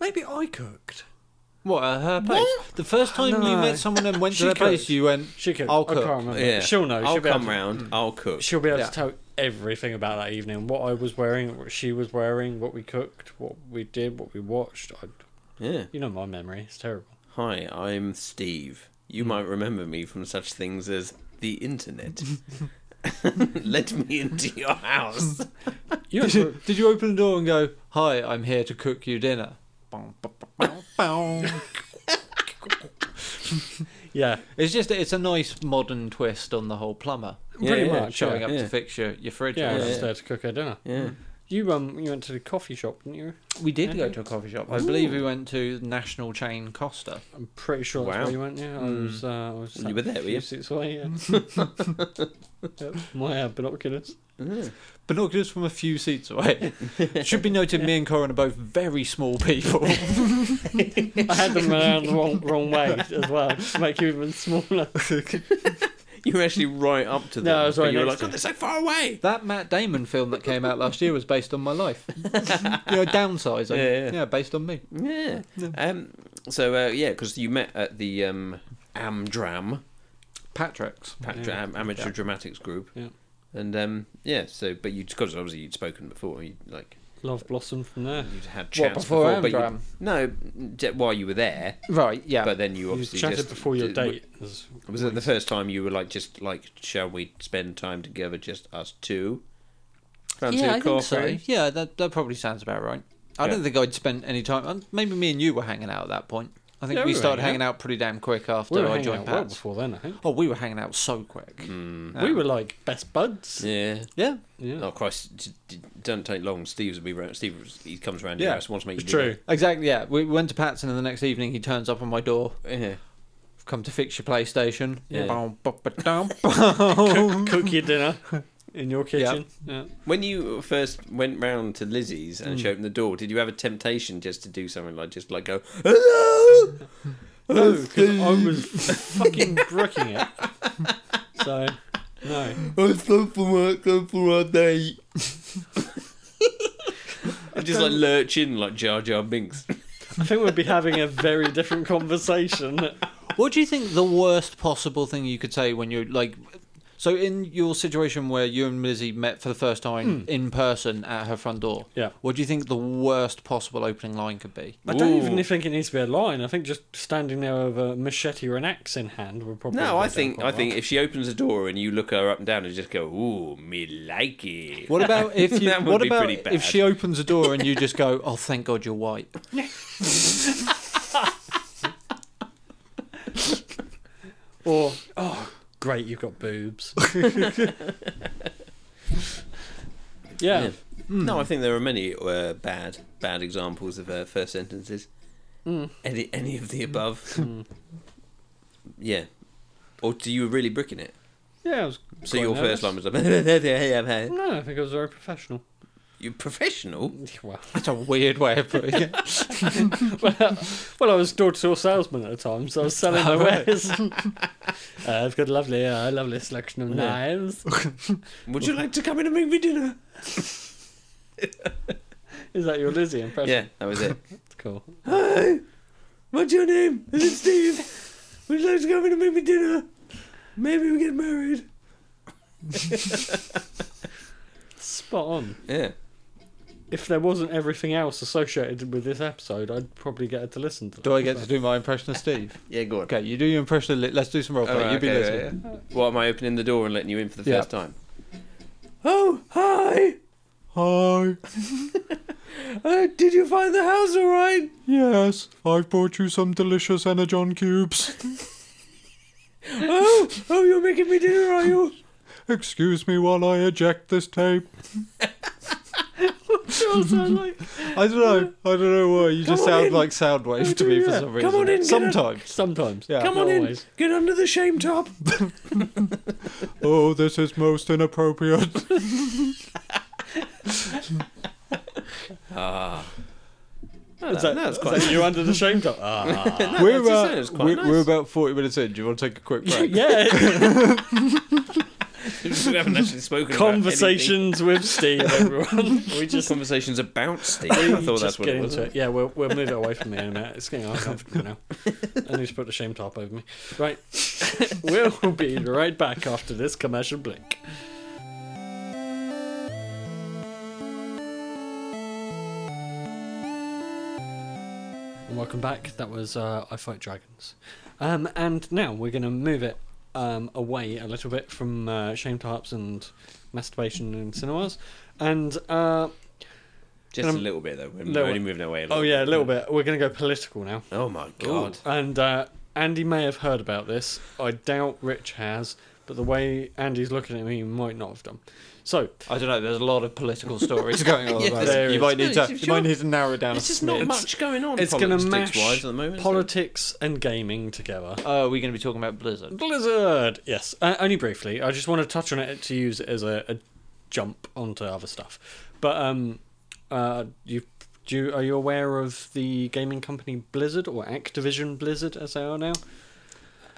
Maybe I cooked.
What at her place? The first time you
No.
met someone and went
She
to their place,
cooked.
you went. *laughs*
She could.
I'll
I
cook.
can't remember.
Yeah,
She'll know.
I'll
she'll be able
come
to- Mm.
round. I'll cook.
She'll be able
Yeah.
to tell everything about that evening. What I was wearing, what she was wearing, what we cooked, what we did, what we watched. I,
Yeah.
you know my memory. It's terrible.
Hi, I'm Steve. You might remember me from such things as
*laughs*
the internet. Let me into your house.
You
*laughs*
Did you, did you open the door and go, "Hi, I'm here to cook you dinner"?
yeah,
It's just it's a nice modern twist on the whole plumber
Yeah,
pretty
yeah,
much.
showing
yeah.
up
yeah.
to fix your your fridge.
Yeah, I
or
was
Yeah,
just
whatever.
there to cook her dinner.
Yeah.
You um, you went to the coffee shop, didn't you?
We did
Okay.
go to a coffee shop. I believe we went to National Chain Costa.
I'm pretty sure that's
Wow. Hmm.
where you went. Yeah, I was. Uh, I was
You were there, were you?
It's way. Yeah. yep, my uh, binoculars.
Binoculars from a few seats *laughs* away. Should be noted, me and Corin are both very small people.
I had them around the wrong, wrong way as well, just to make you even smaller.
You were actually right up to them.
No, I was
but
right
You were like,
next
God, they're so far away.
that Matt Damon film that came out last year was based on my life.
*laughs*
you know, downsizing.
Yeah, yeah.
based on me.
Yeah. Um. So uh, yeah, because you met at the um, Amdram,
Patrick's.
Pat-
Yeah.
Am- Amateur Dramatics Group.
Yeah.
And um, yeah, so but you because obviously you'd spoken before, you like
Love blossom from there.
you'd had
What,
chats
before
but you-
Amdram?
no, j- while you were there,
*laughs* Right, yeah.
but then you
You
obviously
chatted
just,
before your
d-
date. as-
Was it the first time you were like, just like, shall we spend time together, just us two? Fancy
yeah,
a
I think so.
coffee?
Yeah, that, that probably sounds about right. I
Yeah.
don't think I'd spent any time. um, Maybe me and you were hanging out at that point. I think
Yeah,
we
we were
started
hanging
hanging out pretty damn quick after
We were
I
hanging
joined
out well
Pat's.
before then, I think.
oh, we were hanging out so quick.
We were like best buds.
Ah. Yeah.
Yeah.
Yeah.
Oh Christ! d- d- Don't take long. Steve's will be round. Steve, he comes round
Yeah.
your house. Wants to make you
It's
dinner.
true.
Exactly, yeah. We went to Pat's and then the next evening he turns up on my door.
Yeah.
I've come to fix your PlayStation.
Yeah.
Bum, bu- bu- dum.
cook, cook your dinner in your kitchen. Yeah.
*laughs* When you first went round to Lizzie's
Mm.
and she opened the door, did you have a temptation just to do something like just like
*laughs*
go hello?
No, because I was
*laughs*
fucking bricking it. So, no.
It's time for work. Time for our *laughs* day. and just like lurch in like Jar Jar Binks.
I think we'd be having a very different conversation.
What do you think the worst possible thing you could say when you're like? So in your situation where you and Lizzie met for the first time in person at her front door,
Hmm. Yeah.
What do you think the worst possible opening line could be?
I don't even
Ooh.
think it needs to be a line. I think just standing there with a machete or an axe in hand would probably.
No,
go
I
down
think
quite
I think
well.
if she opens the door and you look her up and down and just go, "Ooh, me like it."
What
*laughs*
*laughs*
about if you?
That would
what
be
about
pretty bad.
if she opens a door and you just go, "Oh, thank God you're white."
Or oh, great, you've got
*laughs*
boobs. *laughs* yeah.
Yeah. No, I think there are many uh, bad bad examples of uh, first sentences.
Mm.
Any any of the above. Yeah. Or do you really bricking it?
Yeah. I was
So
quite
your
nervous.
first line was *laughs* like,
No, I think I was very professional. *laughs*
"You're professional."
Well, *laughs*
That's a weird way of putting it.
well, I was door-to-door salesman at the time, so I was selling
*laughs*
my wares. *laughs* uh, I've got a lovely, uh, lovely selection of knives.
Would you like to come in and make me dinner?
Is that your Lizzie impression?
Yeah, that was it.
That's cool.
Hi, what's your name? Is it Steve? Would you like to come in and make me dinner? Maybe we get married.
Spot on.
Yeah.
If there wasn't everything else associated with this episode, I'd probably get her to listen to.
Do I
that.
get to do my impression of Steve?
Yeah, go on.
Okay, you do your impression. Of Li- Let's do some role play.
Alright,
you be
okay,
Lizzie.
yeah, yeah. Why am I opening the door and letting you in for the
Yeah.
first time? Oh, hi!
Hi.
Uh, did you find the house all right?
Yes, I've brought you some delicious energon cubes.
Oh, oh, you're making me dinner, are you?
Excuse me while I eject
*laughs*
this tape. I don't know. I don't know why. You just
on
sound
in.
like Soundwave to me for
yeah.
some reason.
Come on in, get up.
Sometimes.
Sometimes.
Yeah.
Come on in,
Always.
get under the shame top.
Oh, this is most inappropriate.
*laughs*
Is that,
that's
is
quite-
that you under the *laughs* shame top? Ah.
we're,
that's-
about,
that is quite
we're,
nice.
we're about 40 minutes in. Do you want to take a
*laughs*
quick
*laughs*
break?
yeah.
we haven't actually spoken about
Conversations with *laughs* Steve, everyone.
*laughs*
We
anything.
just.
Conversations about Steve. I thought that's
just
what
get
it was.
into it. Yeah, we'll, we'll move it away from me in a minute. It's getting uncomfortable now. I need to put the shame top over me. Right. *laughs* we'll be right back after this commercial break. And welcome back. That was uh, I Fight Dragons. Um, and now we're going to move it um, away a little bit from uh, shame tarps and masturbation in cinemas. And. Uh,
Just
Um,
a little bit though. We're
little
only
bit.
moving away. A little
Oh yeah, a little bit. We're gonna go political now.
Oh my god.
And uh, Andy may have heard about this. I doubt Rich has, but the way Andy's looking at me, he might not have done. So,
I don't know. There's a lot of political stories going on.
Yeah,
about
there
it. You
is.
might need
No,
to.
it's
You might need to narrow it down.
It's
a
just not
smidge.
much going on.
it's going to mash
wise at the moment. so-
politics and gaming together.
Oh, we're going to be talking about Blizzard.
Blizzard. Yes, uh, only briefly. I just want to touch on it to use it as a, a jump onto other stuff. But um, uh, you do you, are you aware of the gaming company Blizzard or Activision Blizzard as they are now?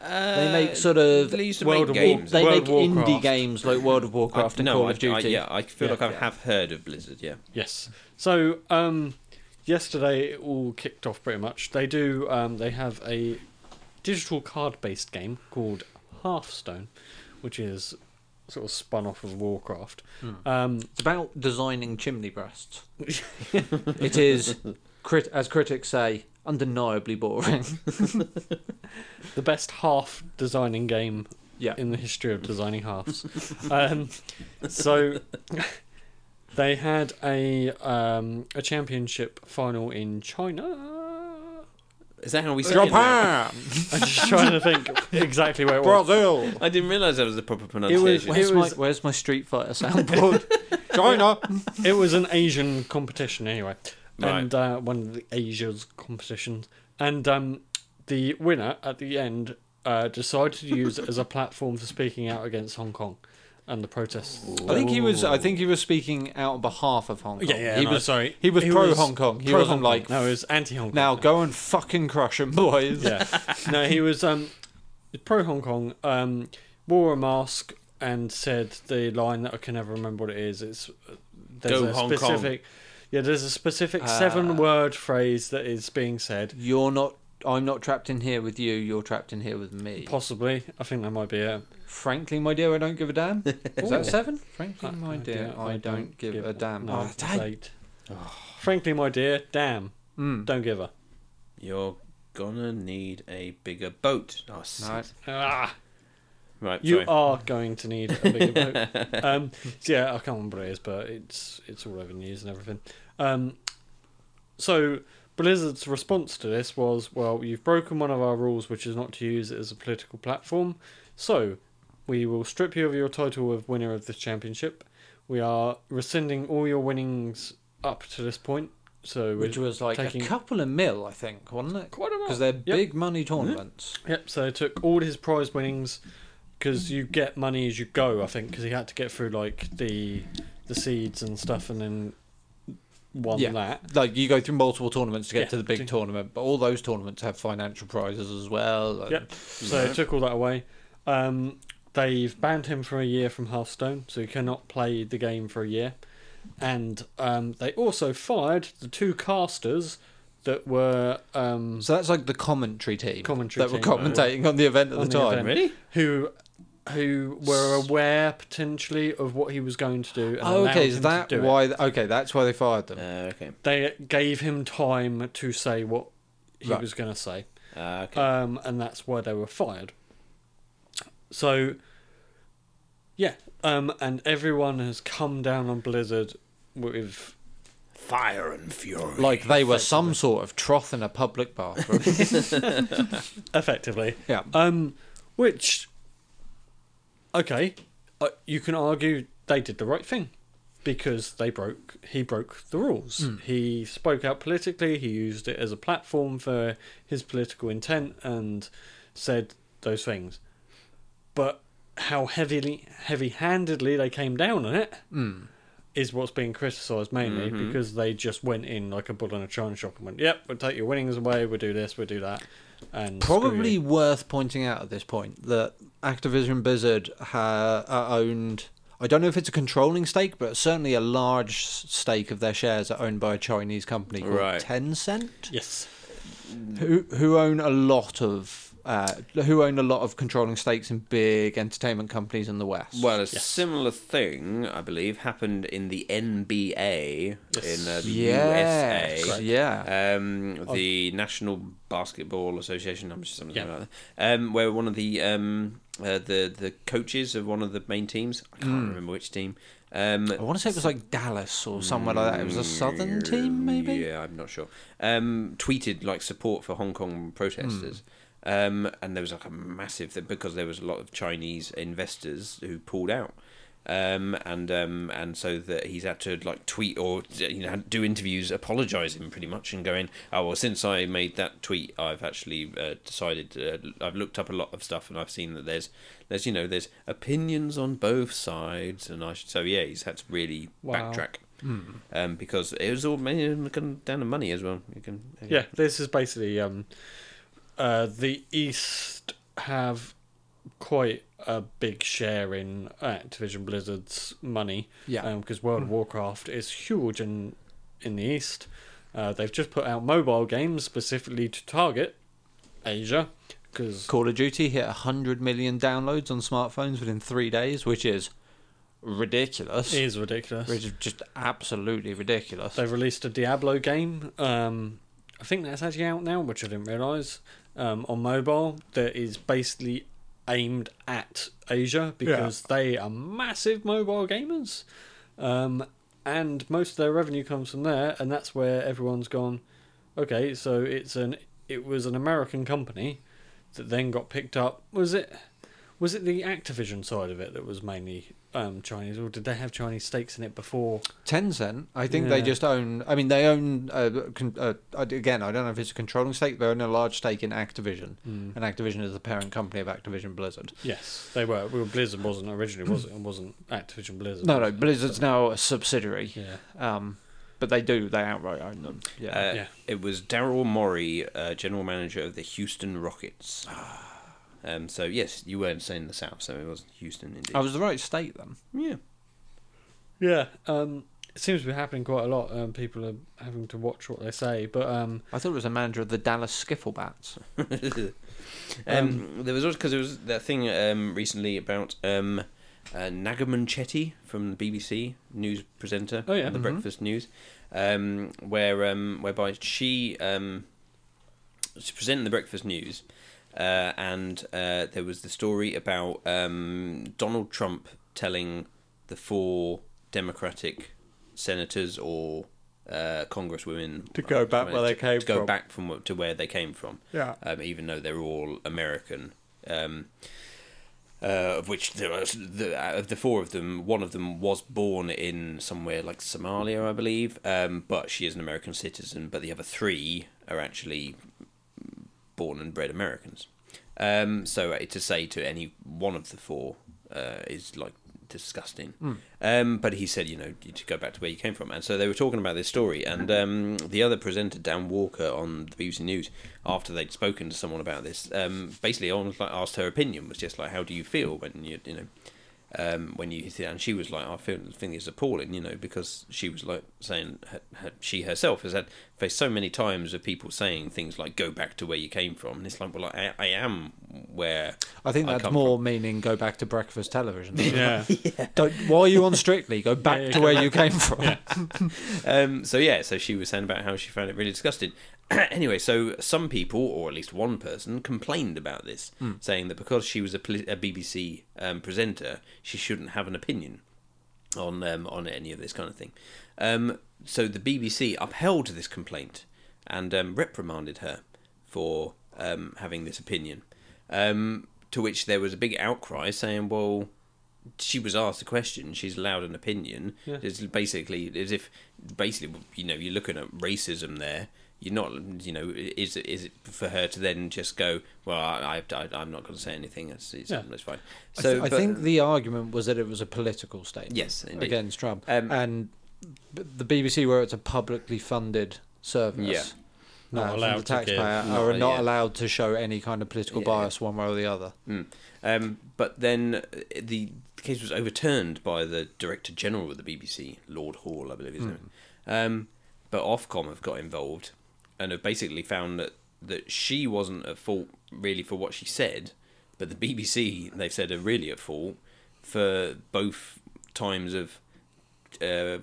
Uh,
They make sort of
they used to
World of
make
War-
games.
They
World
make
of Warcraft.
indie games like World of
I-
Warcraft and
no,
Call
I,
of Duty.
I, yeah, I feel
Yeah.
like I
Yeah.
have heard of Blizzard. Yeah,
Yes. So um, yesterday it all kicked off pretty much. They do. Um, they have a digital card-based game called Hearthstone, which is sort of spun off of Warcraft. Um,
It's about designing chimney *laughs* breasts. it is, crit- as critics say, undeniably boring.
the best half designing game
Yeah.
in the history of designing halves. um, so they had a um, a championship final in China.
is that how we say it now?
Japan,
I'm just trying to think exactly where it was.
Brazil,
I didn't realise that was the proper pronunciation.
It
Where's my
was-
Where's my Street Fighter
*laughs*
soundboard? China.
It was an Asian competition anyway,
Right.
and uh, one of the Asia's competitions. And um, the winner at the end uh, decided to use it as a platform for speaking out against Hong Kong and the protests.
*laughs* I think he was. I think he was speaking out on behalf of Hong Kong.
Yeah, yeah.
He
no,
was.
sorry.
He was pro Hong Kong. He
pro Hong Kong.
wasn't like
no, he was anti Hong Kong.
now go and fucking crush him, boys.
yeah. *laughs* No, he was um pro Hong Kong. Um, wore a mask and said the line that I can never remember what it is. It's uh, there's
Go
a
Hong Kong.
specific. Yeah, there's a specific
Ah.
seven-word phrase that is being said.
You're not. I'm not trapped in here with you. You're trapped in here with me.
Possibly, I think that might be it.
Frankly, my dear, I don't give a damn. Is that seven? Frankly,
Uh,
my dear, I don't give a damn.
No,
Oh,
it's
dang.
eight. Frankly, my dear, damn,
Mm.
don't give a.
You're gonna need a bigger boat. Oh,
No.
s-
Ah,
right.
you
sorry.
are going to need a bigger boat. Um, so yeah, I can't remember what it is, but it's it's all over the news and everything. Um, so Blizzard's response to this was, well, you've broken one of our rules, which is not to use it as a political platform. So we will strip you of your title of winner of this championship. We are rescinding all your winnings up to this point. So
Which
we're
was like
taking-
a couple of mil, I think, wasn't it?
quite a lot.
Because they're
Yep.
big money tournaments.
Yep, so they took all his prize winnings because you get money as you go, I think, because he had to get through like the the seeds and stuff and then won
Yeah.
that.
Like you go through multiple tournaments to get
Yeah.
to the big tournament, but all those tournaments have financial prizes as well. and-
Yep. So they took all that away. Um, they've banned him for a year from Hearthstone, so he cannot play the game for a year. And um, they also fired the two casters that were um,
So that's like the commentary team
Commentary
that were
team,
commentating on the event at
On
the
the
time.
event.
really?
who who were aware potentially of what he was going to do. And
Oh,
allowed
okay, is
him
that
to do it.
why? Okay, that's why they fired them.
Uh, okay.
they gave him time to say what he
Right.
was going to say,
Uh, okay.
um, and that's why they were fired. So, yeah, um, and everyone has come down on Blizzard with
Fire and fury.
Like they were some sort of troth in a public *laughs* bathroom.
effectively,
yeah.
um, which, okay, uh, you can argue they did the right thing because they broke he broke the rules. He spoke out politically. He used it as a platform for his political intent and said those things. But how heavily, heavy-handedly they came down on it is what's being criticised mainly because they just went in like a bull in a china shop and went, "Yep, we'll take your winnings away. We'll do this. We'll do that." And screw
Probably
you."
worth pointing out at this point that Activision Blizzard ha- are owned. I don't know if it's a controlling stake, but certainly a large s- stake of their shares are owned by a Chinese company called
Right.
Tencent,
yes.
who who own a lot of uh, who own a lot of controlling stakes in big entertainment companies in the West.
Well, a
Uh, Yes.
similar thing, I believe, happened in the NBA
Yes.
in uh, the
yes,
USA.
yeah.
Um, the National Basketball Association. I'm just something
Oh. Yeah.
like that. Um, where one of the um, uh, the the coaches of one of the main teams. I can't
Hmm.
remember which team. Um,
I want to say it was like Dallas or somewhere like that. It was a southern team, maybe. Hmm.
Yeah, I'm not sure. Um, tweeted like support for Hong Kong protesters. Um, and there was like a massive thing because there was a lot of Chinese investors who pulled out. Um, and um, and so that he's had to like tweet or you know do interviews apologising pretty much and going oh well since I made that tweet I've actually uh, decided uh, I've looked up a lot of stuff and I've seen that there's there's you know there's opinions on both sides and I should, so yeah he's had to really
Wow.
backtrack
Hmm.
um, because it was all it come down to money as well you can uh,
Yeah, this is basically um, uh, the East have quite a big share in Activision Blizzard's money.
Yeah. Hmm.
Because World of Warcraft is huge in in the East. Uh, they've just put out mobile games specifically to target Asia. Because
Call of Duty hit 100 million downloads on smartphones within three days, which is ridiculous.
it is ridiculous.
Which is just absolutely ridiculous.
They've released a Diablo game. Um, I think that's actually out now, which I didn't realise. Um, on mobile, that is basically aimed at Asia because they are massive mobile gamers, um, and most of their revenue comes from there. And that's where everyone's gone. Okay, so it's an it was an American company that then got picked up. Was it was it the Activision side of it that was mainly um, Chinese, or did they have Chinese stakes in it before?
Tencent, I think they
Yeah.
just own. I mean, they own. Uh, con- uh, I- again, I don't know if it's a controlling stake. They own a large stake in Activision, and Activision is the parent company of Activision Blizzard.
Yes, they were. Well, Blizzard wasn't originally, was it? It wasn't Activision Blizzard.
No, no, Blizzard's now a subsidiary.
Yeah.
Um, but they do. They outright own them. Yeah.
Uh,
Yeah.
It was Daryl Morey, uh, general manager of the Houston Rockets.
Ah.
um, so yes, you weren't saying the South, so it was Houston indeed.
I was the right state then.
yeah, *laughs*
Yeah. Um, it seems to be happening quite a lot. Um, people are having to watch what they say. But um,
I thought it was the manager of the Dallas Skifflebats.
um,
Um,
there was also because there was that thing um, recently about um, uh, Nagaman Chetty from the BBC news presenter
Oh, yeah.
on the
Mhm.
Breakfast News, um, where um, whereby she um, was presenting the Breakfast News, uh, and uh, there was the story about um, Donald Trump telling the four Democratic senators or uh, congresswomen
To go back where they came
to go
from.
back from wh- to where they came from
Yeah.
um, even though they're all American. Um, uh, of which there was the, out of the four of them, one of them was born in somewhere like Somalia, I believe, um, but she is an American citizen. But the other three are actually born and bred Americans. Um, so uh, to say to any one of the four uh, is like disgusting. Um, but he said, you know, you to go back to where you came from. And so they were talking about this story, and um, the other presenter, Dan Walker, on the BBC News, after they'd spoken to someone about this, um, basically almost like asked her opinion, was just like, how do you feel when you, you know, um, when you hit it, and she was like, I feel the thing is appalling, you know, because she was like saying her, her, she herself has had faced so many times of people saying things like, "Go back to where you came from," and it's like, well, I, I am where
I think that's
come
more meaning go back to breakfast television.
*laughs*
*laughs*
yeah,
Don't, why are you on Strictly? Go back
Yeah, yeah,
to
go
where
*laughs*
you came from. *laughs*
um, so yeah, so she was saying about how she found it really disgusting. *clears throat* anyway, so some people, or at least one person, complained about this, saying that because she was a, poli- a BBC um, presenter, she shouldn't have an opinion on um, on any of this kind of thing. Um, so the BBC upheld this complaint and um, reprimanded her for um, having this opinion. Um, to which there was a big outcry saying, "Well." she was asked a question. She's allowed an opinion. It's basically as if, basically, you know, you're looking at racism there. You're not, you know, is it- is it for her to then just go? Well, I, I, I I'm not going to say anything. It's, it's,
Yeah.
it's fine.
I
So
th- I
but- um,
think the argument was that it was a political statement.
Yes, indeed.
against Trump
Um,
and b- the BBC, where it's a publicly funded service,
Yeah.
Not
from
allowed to
the taxpayer,
give.
are
Not-
not
yeah.
allowed to show any kind of political
Yeah.
bias one way or the other.
Mm. Um, but then uh, the, the case was overturned by the Director General of the BBC, Lord Hall, I believe his name. Um, but Ofcom have got involved and have basically found that, that she wasn't at fault really for what she said, but the BBC, they've said, are really at fault for both times of uh,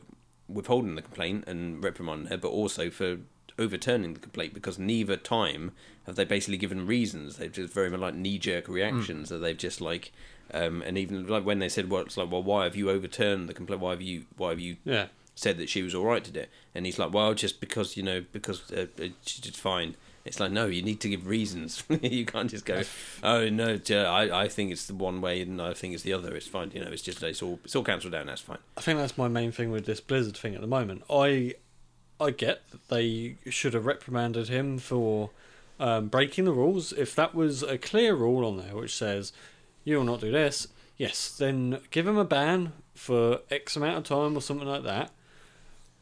withholding the complaint and reprimanding her, but also for overturning the complaint because neither time have they basically given reasons. They've just very much like knee
Hmm.
jerk reactions that they've just like, um, and even like when they said, "Well, it's like, well, why have you overturned the complaint? Why have you, why have you
yeah.
said that she was all right to do it?" And he's like, "Well, just because you know, because uh, uh, she's just fine." It's like no, you need to give reasons. *laughs* you can't just go, oh no, t- I I think it's the one way and I think it's the other. It's fine. You know, it's just it's all it's all cancelled down. That's fine.
I think that's my main thing with this Blizzard thing at the moment. I I get that they should have reprimanded him for um, breaking the rules. If that was a clear rule on there which says you will not do this, yes, then give him a ban for X amount of time or something like that.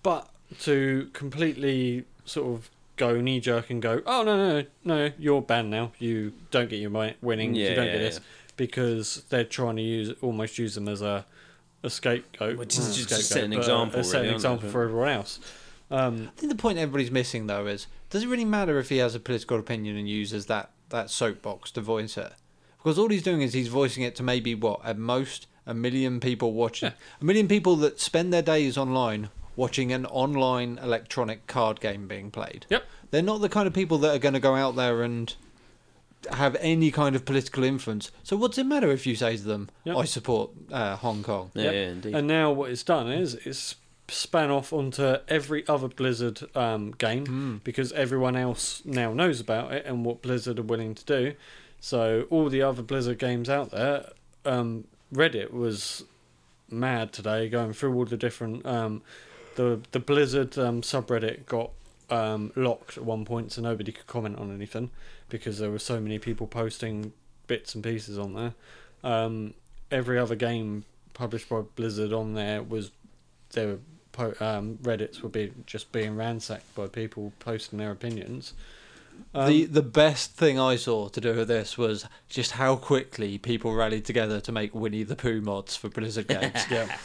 But to completely sort of go knee jerk and go, oh no no no, no, you're banned now. You don't get your mi- winning.
Yeah,
you don't
yeah,
get this
yeah.
because they're trying to use almost use them as a a scapegoat.
Which is
not a
just to
scapegoat,
set an
but
example,
Uh, a set
really,
an
aren't
example
they?
for everyone else. Um,
I think the point everybody's missing though is does it really matter if he has a political opinion and uses that that soapbox to voice it? Because all he's doing is he's voicing it to maybe what at most a million people watching, a million people that spend their days online watching an online electronic card game being played.
Yep.
They're not the kind of people that are going to go out there and have any kind of political influence. So what's it matter if you say to them,
Yep.
"I support uh, Hong Kong"?
Yeah,
Yep.
yeah indeed.
and now what it's done is it's span off onto every other Blizzard um, game because everyone else now knows about it and what Blizzard are willing to do. So all the other Blizzard games out there, um, Reddit was mad today going through all the different um, the the Blizzard um, subreddit got um, locked at one point, so nobody could comment on anything because there were so many people posting bits and pieces on there. Um, every other game published by Blizzard on there was their po- um, Reddit's were be just being ransacked by people posting their opinions. Um,
the the best thing I saw to do with this was just how quickly people rallied together to make Winnie the Pooh mods for Blizzard games.
yeah,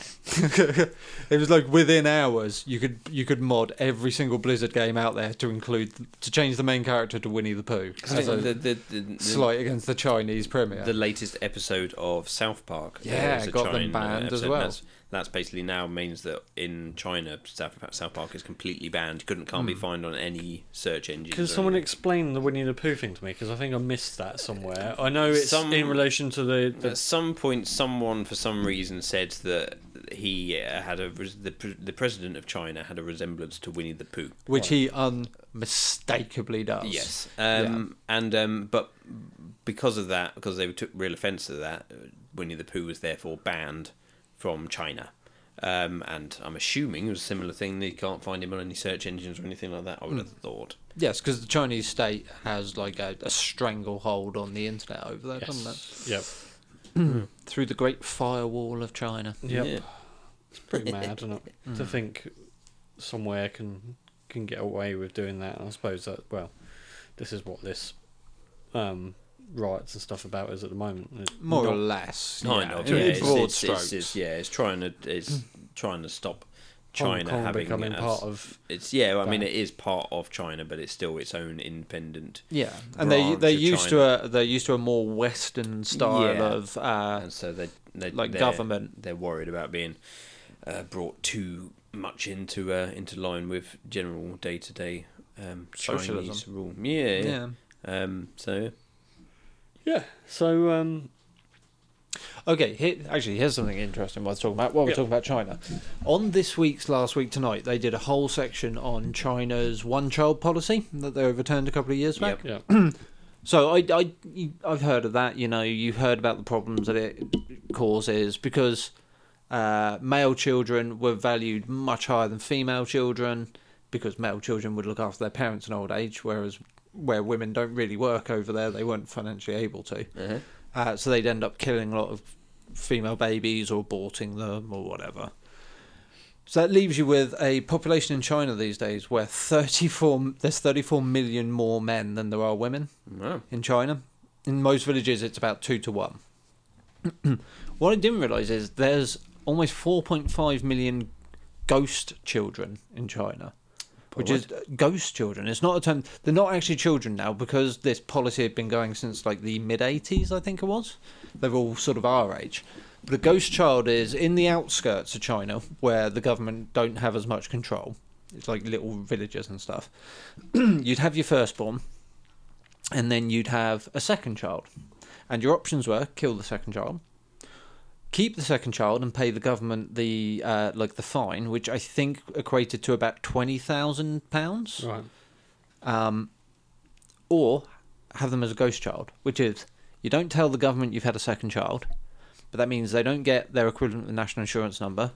*laughs* it was like within hours you could you could mod every single Blizzard game out there to include to change the main character to Winnie the Pooh
I
as
think
a
the, the, the, the-
slight against the Chinese premier.
the latest episode of South Park.
Yeah,
There was a
got them
China
banned as
episode, and
well.
That's, that's basically now means that in China, South, South Park is completely banned. Couldn't can't
Hmm.
be found on any search engine.
Can someone explain the Winnie the Pooh thing to me? Because I think I missed that somewhere. I know it's
Some-
in relation to the, the
At some point, someone for some reason said that he uh, had a res- the, pre- the president of China had a resemblance to Winnie the Pooh.
which he unmistakably does.
Yes, um, and um, but because of that, because they took real offence to that, uh, Winnie the Pooh was therefore banned from China. Um, and I'm assuming it was a similar thing. They can't find him on any search engines or anything like that. I would have
Hmm.
thought.
Yes, because the Chinese state has like a, a stranglehold on the internet over there, doesn't it?
yes. Yep.
Through the Great Firewall of China.
Yep.
Yeah.
It's pretty mad, isn't
*laughs*
it?
Mm.
To think somewhere can can get away with doing that. And I suppose that well, this is what this um, riots and stuff about is at the moment. It's
More
not-
or less.
Kind
yeah,
of.
in-
yeah,
in
it's-
broad
it's- it's-
strokes.
it's- yeah, it's trying to it's trying to stop
Hmm. Hong
China
Kong
having
becoming
as-
part of
It's yeah. I mean,
that.
it is part of China, but it's still its own independent
Yeah, and they
branch
they're
of
used
China.
to a they're used to a more Western style
Yeah.
of uh,
and so they, they
Like
they're-
government.
they're worried about being uh, brought too much into uh, into line with general day to day
Socialism.
Chinese rule. Yeah, yeah.
yeah.
Um, so
yeah. So um,
Okay, here, actually, here's something interesting. While talking about while we're
Yeah.
talking about China, on this week's last week tonight, they did a whole section on China's one child policy that they overturned a couple of years back.
Yep.
yeah,
So I, I, you- I've heard of that. You know, you've heard about the problems that it causes because uh, male children were valued much higher than female children because male children would look after their parents in old age, whereas where women don't really work over there, they weren't financially able to.
uh
Uh, so they'd end up killing a lot of female babies or aborting them or whatever. So that leaves you with a population in China these days where 34 there's 34 million more men than there are women
wow.
in China. In most villages, it's about two to one. *clears throat* what I didn't realise is there's almost 4.5 million ghost children in China, which is ghost children. It's not a term. They're not actually children now because this policy had been going since like the mid 80s, I think it was. They were all sort of our age. But a ghost child is in the outskirts of China where the government don't have as much control. It's like little villages and stuff. *clears throat* You'd have your firstborn, and then you'd have a second child. And your options were kill the second child, keep the second child, and pay the government the uh, like the fine, which I think equated to about twenty thousand pounds.
right.
Um, or have them as a ghost child, which is you don't tell the government you've had a second child, but that means they don't get their equivalent of the national insurance number,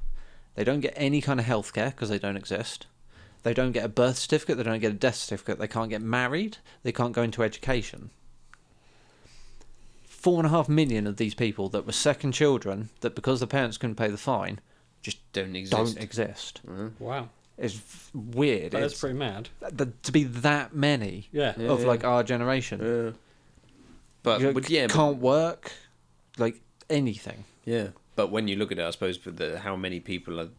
they don't get any kind of health care because they don't exist, they don't get a birth certificate, they don't get a death certificate, they can't get married, they can't go into education. Four and a half million of these people that were second children, that because the parents couldn't pay the fine, just
Don't exist.
don't exist.
Wow.
It's weird.
That's
It's-
pretty mad.
th- to be that many
Yeah. Oh.
Yeah.
of like our generation.
Uh, But,
You
but yeah, but-
can't work, like anything.
yeah. But when you look at it, I suppose for the how many people are,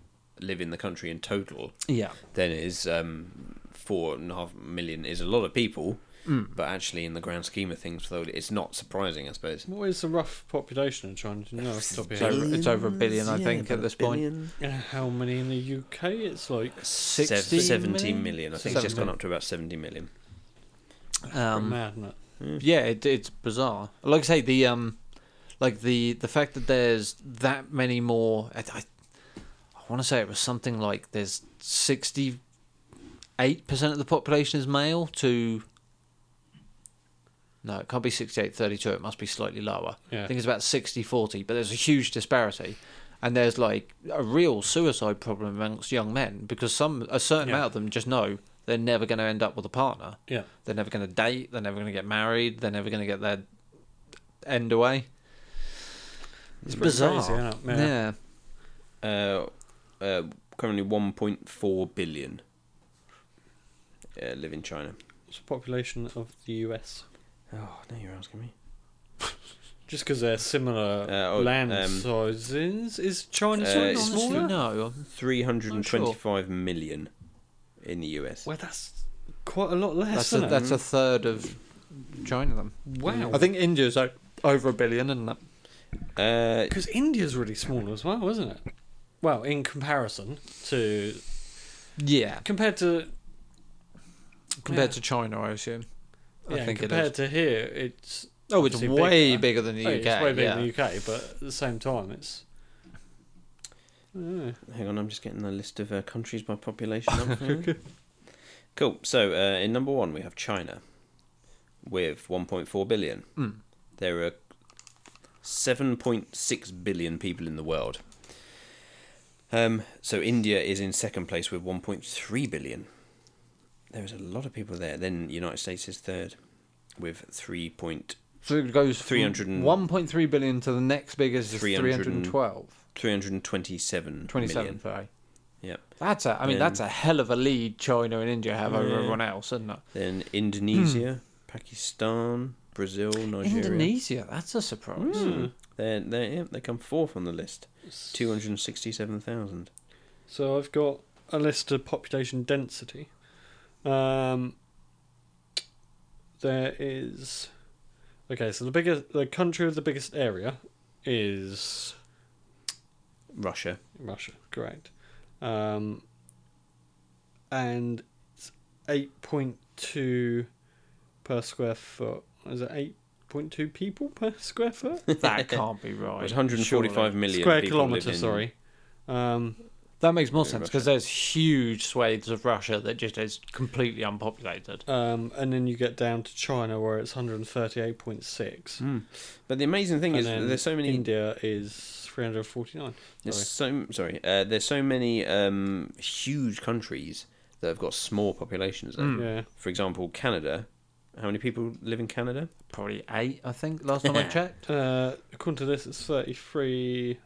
live in the country in total,
Yeah,
then it is um, four and a half million is a lot of people.
Mm.
But actually, in the grand scheme of things, though, it's not surprising, I suppose.
What is the rough population in China? Do you know off the top of
it's
your head?
over, it's over a billion, I think, at this point.
Uh, How many in the UK? It's like
60
17
million?
million. I think it's just
70
gone up to about 70 million.
Um,
mad, isn't it?
yeah, it, it's bizarre. Like I say, the um, like the the fact that there's that many more. I, I, I want to say it was something like there's sixty eight percent of the population is male. To no, it can't be 68 32. It must be slightly lower.
Yeah.
I think it's about 60 40, but there's a huge disparity. And there's like a real suicide problem amongst young men because some a certain
Yeah.
amount of them just know they're never going to end up with a partner.
Yeah.
They're never going to date. They're never going to get married. They're never going to get their end away. It's
pretty
bizarre.
crazy, isn't it?
yeah.
Yeah.
Uh, uh, currently 1.4 billion uh, live in China.
What's the population of the US?
Oh, no, you're asking me.
Just because they're similar
Uh, oh,
land
um,
sizes, is China
uh,
slightly
it's-
smaller?
No.
325 million in the US.
Well, that's quite a lot less.
That's a,
isn't
that's a third of China. Them.
it? wow.
I think India's o- over a billion, isn't it?
Uh,
because India's really small as well, isn't it? Well, in comparison to
Yeah.
compared to
Compared
Yeah.
to China, I assume.
yeah,
I think it
compared
is.
to here, it's
Oh, it's
obviously
way
bigger.
bigger than the
oh,
UK.
it's way bigger
yeah.
than the UK, but at the same time, it's yeah.
hang on, I'm just getting the list of uh, countries by population. Up here. cool. So uh, in number one, we have China with 1.4 billion.
Mm.
There are 7.6 billion people in the world. Um, so India is in second place with 1.3 billion. There is a lot of people there. Then United States is third with 3. Point
So it goes
300
from
and-
1.3 billion to the next biggest is
300 and-
312.
327
27,
million.
sorry.
Yep.
That's a, I mean,
Then-
that's a hell of a lead China and India have over
Yeah.
everyone else, isn't it?
Then Indonesia, Pakistan, Brazil, Nigeria. Hmm.
Indonesia, that's a surprise. *laughs*
They're, they're, yeah, they come fourth on the list. 267,000.
So I've got a list of population density. Um, there is okay. So the biggest, the country with the biggest area is
Russia.
Russia, correct? Um, and it's eight point two per square foot. Is it eight point two people per square foot?
That can't be right.
There's 145
surely.
million
Square
people
kilometre,
live in-
sorry. Um,
That makes more
Yeah,
sense
Russia.
because there's huge swathes of Russia that just is completely unpopulated.
um, and then you get down to China where it's 138.6.
But the amazing
And
thing Mm, is
then
there's so many.
India is 349.
There's so sorry. Uh, there's so many um, huge countries that have got small populations. Though.
Yeah.
For example, Canada. How many people live in Canada?
Probably eight, I think, last time I checked.
Uh, according to this, it's 33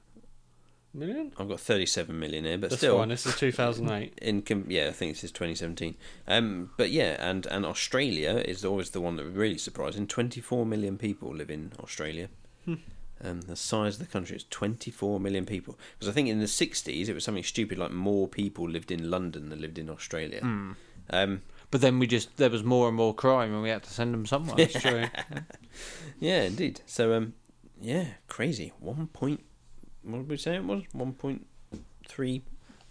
million.
I've got 37 million here, but
That's
still.
fine. This is
*laughs*
2008.
in com- yeah, I think this is 2017. Um, but yeah, and and Australia is always the one that was really surprising. 24 million people live in Australia. Um, the size of the country is 24 million people. Because I think in the 60s it was something stupid like more people lived in London than lived in Australia. Um,
But then we just, there was more and more crime and we had to send them somewhere. *laughs*
That's true.
yeah, indeed. So um, yeah, crazy. One point. What did we say it was? 1.3.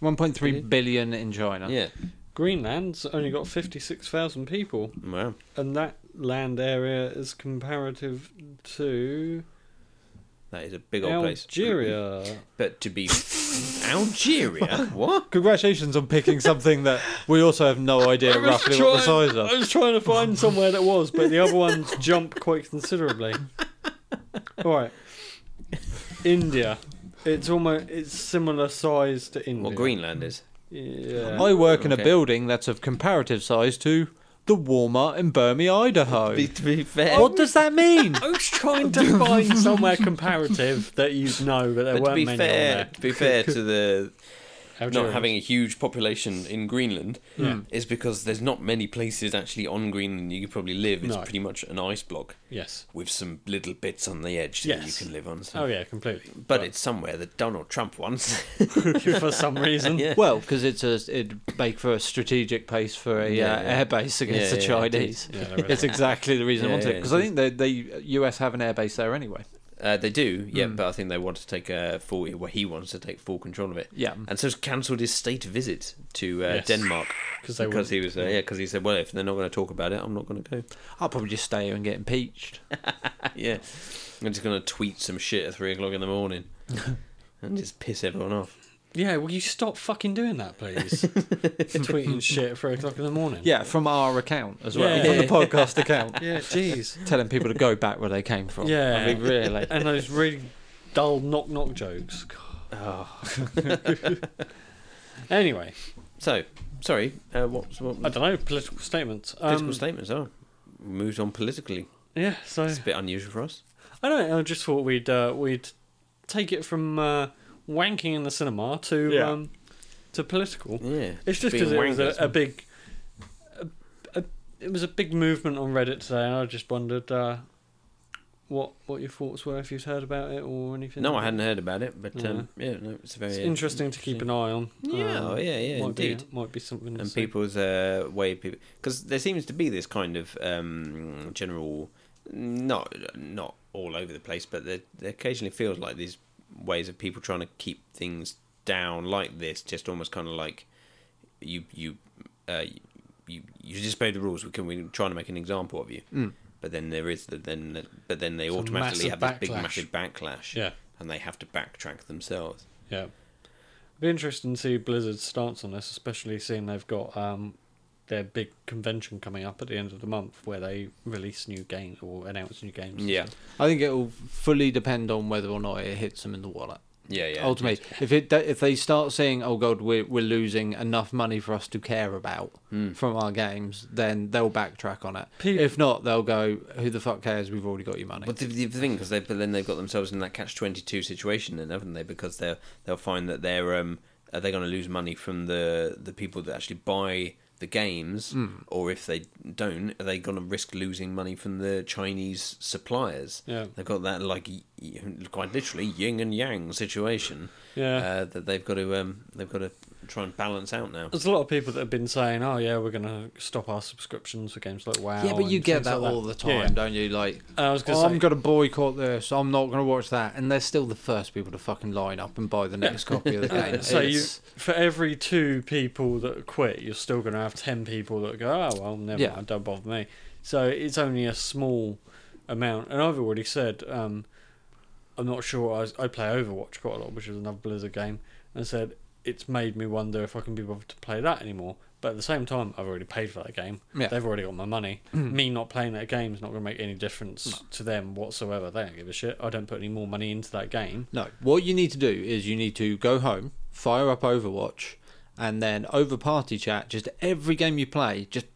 1.3 billion in China.
Yeah.
Greenland's only got 56,000 people,
Wow.
and that land area is comparative to
That is a big old place. *laughs*
Algeria.
But to be Algeria, what?
Congratulations on picking something that we also have no *laughs* idea roughly what the size
I
of.
was trying to find somewhere that was, but the other ones jump quite considerably. All right, India. It's almost it's similar size to India.
Well, Greenland is.
Yeah.
I work in a
Okay.
building that's of comparative size to the Walmart in Burmy, Idaho.
To be fair,
What does that mean?
I was trying to find somewhere comparative that you'd know, but there Oh,
but to
weren't
be
many
fair,
on
to be fair to
*laughs*
the
there.
not having a huge population in Greenland is because there's not many places actually on Greenland you could probably live. It's
No.
pretty much an ice block
yes.
with some little bits on the edge that you
Yes.
can live on. So.
Oh yeah, completely.
But it's somewhere that Donald Trump wants. *laughs*
*laughs* for some reason.
yeah.
*laughs* Well, because it's a it'd make for a strategic base for a
Yeah,
uh,
yeah.
airbase against
Yeah,
the
yeah, it
Chinese.
is. Yeah,
*laughs*
there is
it's
one.
exactly the reason I
Yeah,
wanted
yeah,
because
it
I think they they US have an airbase there anyway.
Uh, they do, yeah,
Hmm.
but I think they want to take uh, full. Well, he wants to take full control of it.
Yeah.
and so's cancelled his state visit to uh,
Yes.
Denmark
*laughs* 'Cause they wouldn't-
because he was uh, yeah because he said, well, if they're not going to talk about it, I'm not going to go.
I'll probably just stay here and get impeached.
yeah, I'm just going to tweet some shit at three o'clock in the *laughs* morning and just piss everyone off.
Yeah, will you stop fucking doing that,
*laughs*
please? Tweeting shit at three o'clock in the morning.
Yeah, from our account as well,
Yeah.
from the podcast account,
*laughs* Yeah, jeez.
telling people to go back where they came from.
Yeah.
I mean, really.
*laughs* and those really dull knock knock jokes. God.
Oh.
*laughs* anyway,
So, sorry, uh, what, what
I don't know, political statements.
political
Um,
statements? Oh, we moved on politically.
yeah, so
It's a bit unusual for us.
I don't know, I just thought we'd uh, we'd take it from uh, wanking in the cinema to
Yeah.
um, to political.
Yeah,
It's just
being
because it was
wankers.
a, a big, a, a, it was a big movement on Reddit today, and I just wondered uh, what what your thoughts were if you'd heard about it or anything.
No, I hadn't heard about it, but um, yeah, no, it's very
It's interesting to keep an eye on. Um,
Yeah, oh, yeah, yeah,
might
indeed.
Be, might be something. to
and
see.
people's uh, way people because there seems to be this kind of um, general not not all over the place but there, there occasionally feels like these ways of people trying to keep things down like this just almost kind of like you you uh, you you disobey the rules we can we're trying to make an example of you but then there is the, then the, but then they
Some
automatically have
Mm. massive
this big
backlash.
massive backlash
Yeah,
and they have to backtrack themselves
yeah. It'd be interesting to see Blizzard's stance on this, especially seeing they've got um, their big convention coming up at the end of the month, where they release new games or announce new games. and stuff.
I think it will fully depend on whether or not it hits them in the wallet.
yeah yeah
Ultimately, if it if they start seeing, oh god, we're we're losing enough money for us to care about from our games, then they'll backtrack on it.
Pe-
if not, they'll go, who the fuck cares? We've already got your money.
But the, the thing, because they but then they've got themselves in that catch twenty two situation, then haven't they? Because they they'll find that they're um are they going to lose money from the the people that actually buy the games,
Hmm.
or if they don't, are they going to risk losing money from the Chinese suppliers?
Yeah.
they've got that like y- y- quite literally yin and yang situation.
Yeah.
uh, that they've got to um they've got to try and balance out now.
There's a lot of people that have been saying, "Oh yeah, we're going to stop our subscriptions for games like WoW."
yeah, but you
and
get
things
that
like
all the time,
Yeah, yeah.
don't you? Like,
And I was going
oh,
to
I'm
say,
going to boycott this. I'm not going to watch that. And they're still the first people to fucking line up and buy the next copy
*laughs*
of the *laughs* game.
so you,
It's-
for every two people that quit, you're still going to have ten people that go, "Oh well, never
Yeah.
mind, don't bother me." So it's only a small amount, and I've already said um, I'm not sure. I, I play Overwatch quite a lot, which is another Blizzard game, and I said it's made me wonder if I can be bothered to play that anymore. But at the same time, I've already paid for that game.
Yeah. Mm.
They've already got my money. Me not playing that game is not going to make any difference to them whatsoever. They don't give a shit. I don't put any more money into that game.
No, what you need to do is you need to go home, fire up Overwatch, and then over party chat, just every game you play, just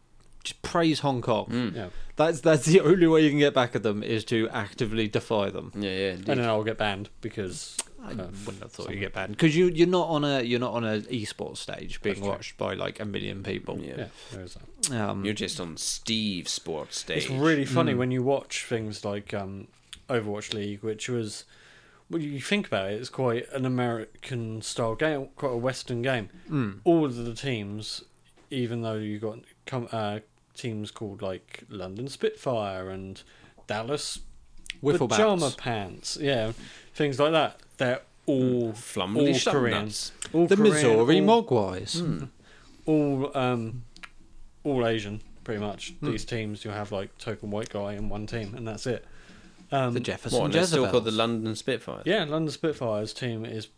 just praise Hong Kong.
Yeah.
That's that's the only way you can get back at them is to actively defy them.
Yeah, yeah,
And
indeed.
then I'll get banned because
I
uh,
wouldn't have thought you get banned because you you're not on a you're not on an esports stage being
That's true.
watched by like a million people.
yeah,
yeah.
there is that.
Um,
You're just on Steve Sports stage.
It's really
Hmm.
funny when you watch things like um, Overwatch League, which was, when you think about it, it's quite an American style game, quite a Western game.
Hmm.
All of the teams, even though you've got com- uh, teams called like London Spitfire and Dallas
Wiffle bats.
Pajama Pants, yeah, things like that, they're all
Flumly
all Korean.
Shumnuts.
All
Hmm. the
Korean,
Missouri
all-
Mogwais.
all um,
Hmm.
all Asian, pretty much. These teams, you'll have like token white guy in one team, and that's it. Um,
the Jefferson
What? And they're still called the London Spitfires.
yeah, London Spitfires team is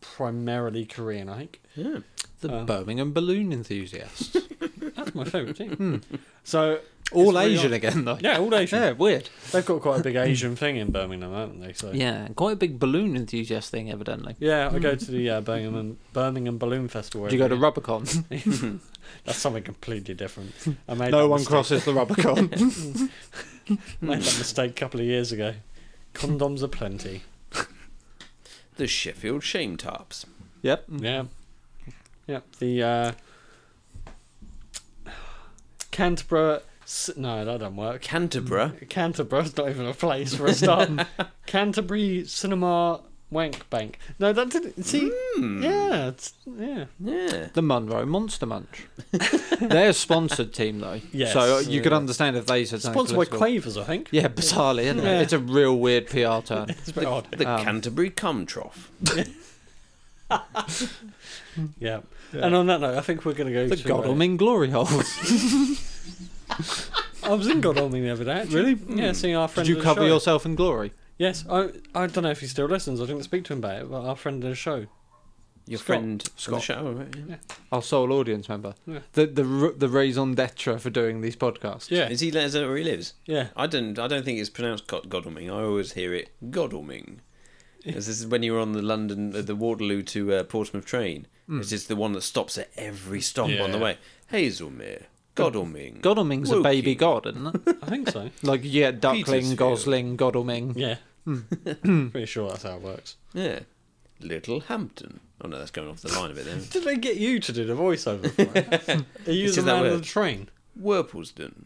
primarily Korean, I think.
Yeah.
the
uh,
Birmingham balloon enthusiasts.
That's my favourite team. so
all
really
Asian
odd.
again, though.
yeah, all Asian.
Hmm. Yeah, weird.
They've got quite a big Asian thing in Birmingham, haven't they? So
Yeah, and quite a big balloon enthusiast thing, evidently.
Yeah, I go to the uh, Birmingham Birmingham Balloon Festival.
Do Hmm. you go to
every
Rubicon?
year. That's something completely different. I made
no
that
one Hmm.
mistake-
crosses the Rubicon.
made that mistake a couple of years ago. Condoms are plenty.
The Sheffield Shame Tarps.
yep.
Yeah. Yep. The uh, Canterbury. S- no, that doesn't work.
Canterbury.
Canterbury's not even a place for a
*laughs*
start. Canterbury Cinema Wank Bank. No, that didn't. See? Mm.
Mm.
Yeah. It's, yeah.
Hmm. Yeah.
The Munro Monster Munch. They're a sponsored team, though.
Yes.
So uh, you could
Yeah.
understand if they said something
Sponsored by
political.
Quavers, I think.
Yeah, bizarrely, isn't
Yeah.
it? It's a real weird PR
*laughs*
turn.
It's a bit odd.
The
Um,
Canterbury Cum Trough.
Yeah. And on that note, I think we're going to go
the
to. uh,
Godalming glory holes.
I was in Godalming the other day. actually.
Really? Mm.
Yeah, seeing our friend.
Did you
of the
cover
show.
yourself in glory?
Yes, I I don't know if he still listens. I didn't speak to him about it, but our friend of the show.
Your
Scott.
friend from the
Scott.
show. right? Yeah.
Our sole audience member.
Yeah.
The the r- the raison d'etre for doing these podcasts.
Yeah,
Is he is that where he lives?
yeah.
I don't. I don't think it's pronounced God- Godalming. I always hear it Godalming. 'Cause this is when you were on the London, uh, the Waterloo to uh, Portsmouth train. It's just the one that stops at every stop on the
Hmm. Yeah.
way. Hazelmere, Godalming,
Godalming's a baby
Woking.
god,
*laughs*
isn't it?
I think so.
Like yeah, duckling,
Petersfield.
gosling, Godalming.
Yeah,
Hmm.
*laughs* pretty sure that's how it works.
Yeah, Little Hampton. Oh no, that's going off the line a bit then.
Did they get you to do the voiceover? For it? Are you
It's
the
just that
man of
word.
the train? *laughs*
Worplesdon,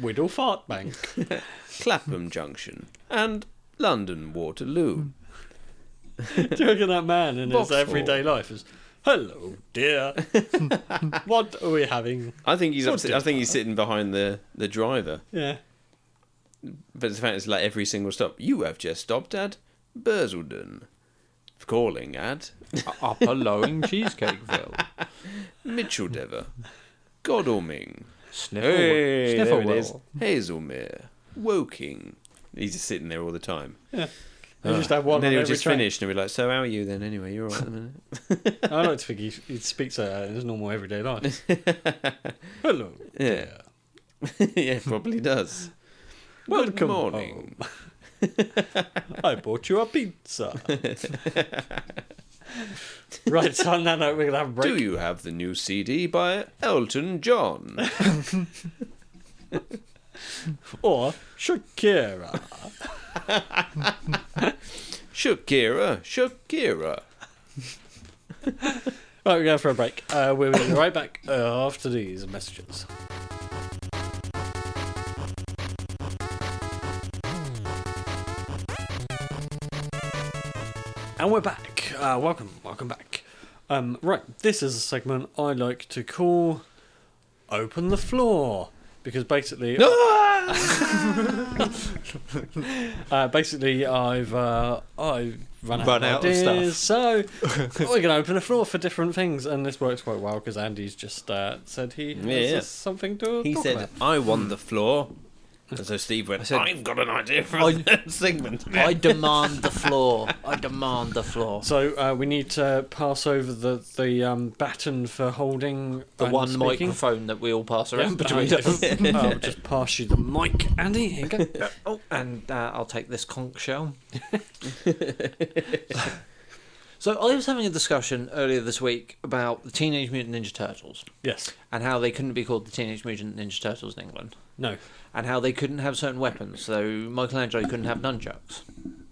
Whittle fart
*laughs*
bank. Hmm.
Clapham Junction, and London Waterloo.
do you reckon that man in his
Vauxhall.
everyday life is? Hello,
*laughs*
dear. what are we having?
I think he's.
What
Upset,
did
I think he's sitting behind the the driver.
Yeah.
But the fact is, like every single stop, you have just stopped at Bursledon, calling at
Upper
*laughs*
Lowing Cheesecakeville.
Mitcheldever, Godalming,
Sniffle.
hey, there it
Snifflewell.
is, Hazelmere, Woking. He's just sitting there all the time. Ah.
They just have one
and then
on
he'll
every
just
train.
finish and he'll be like, "So how are you then? Anyway, you're all right at the minute."
I like to think he, he speaks like that in his normal everyday
*laughs*
life. Hello. *laughs*
Yeah, *laughs* yeah, probably does.
Welcome
Good morning.
I bought you a
*laughs*
pizza. right, so on that note, we're going to have a break.
Do you have the new CD by Elton John?
Or Shakira.
Shakira, Shakira.
Right, we're going for a break. Uh, we'll be right back uh, after these messages. And we're back. Uh, welcome, welcome back. Um, right, this is a segment I like to call Open the Floor. Because basically, uh, basically, I've uh, I've run out,
Run
of,
out of
ideas,
stuff. *laughs*
so we're going to open a floor for different things, and this works quite well because Andy's just uh, said he has
Yeah.
something to
*laughs* He
talk
said,
about.
"I won the floor." And so Steve went, I
said-
"I've got an idea for
I-
a *laughs* third segment."
I demand the floor. I demand the floor.
So uh, we need to pass over the the um, baton for holding
The
and
one
speaking.
microphone that we all pass
Yeah,
around between
I-
us.
*laughs* I'll just pass you the mic, Andy. Here you go.
*laughs* Oh, and uh, I'll take this conch *laughs* shell. so I was having a discussion earlier this week about the Teenage Mutant Ninja Turtles
Yes.
and how they couldn't be called the Teenage Mutant Ninja Turtles in England
No.
and how they couldn't have certain weapons. So Michelangelo couldn't have nunchucks.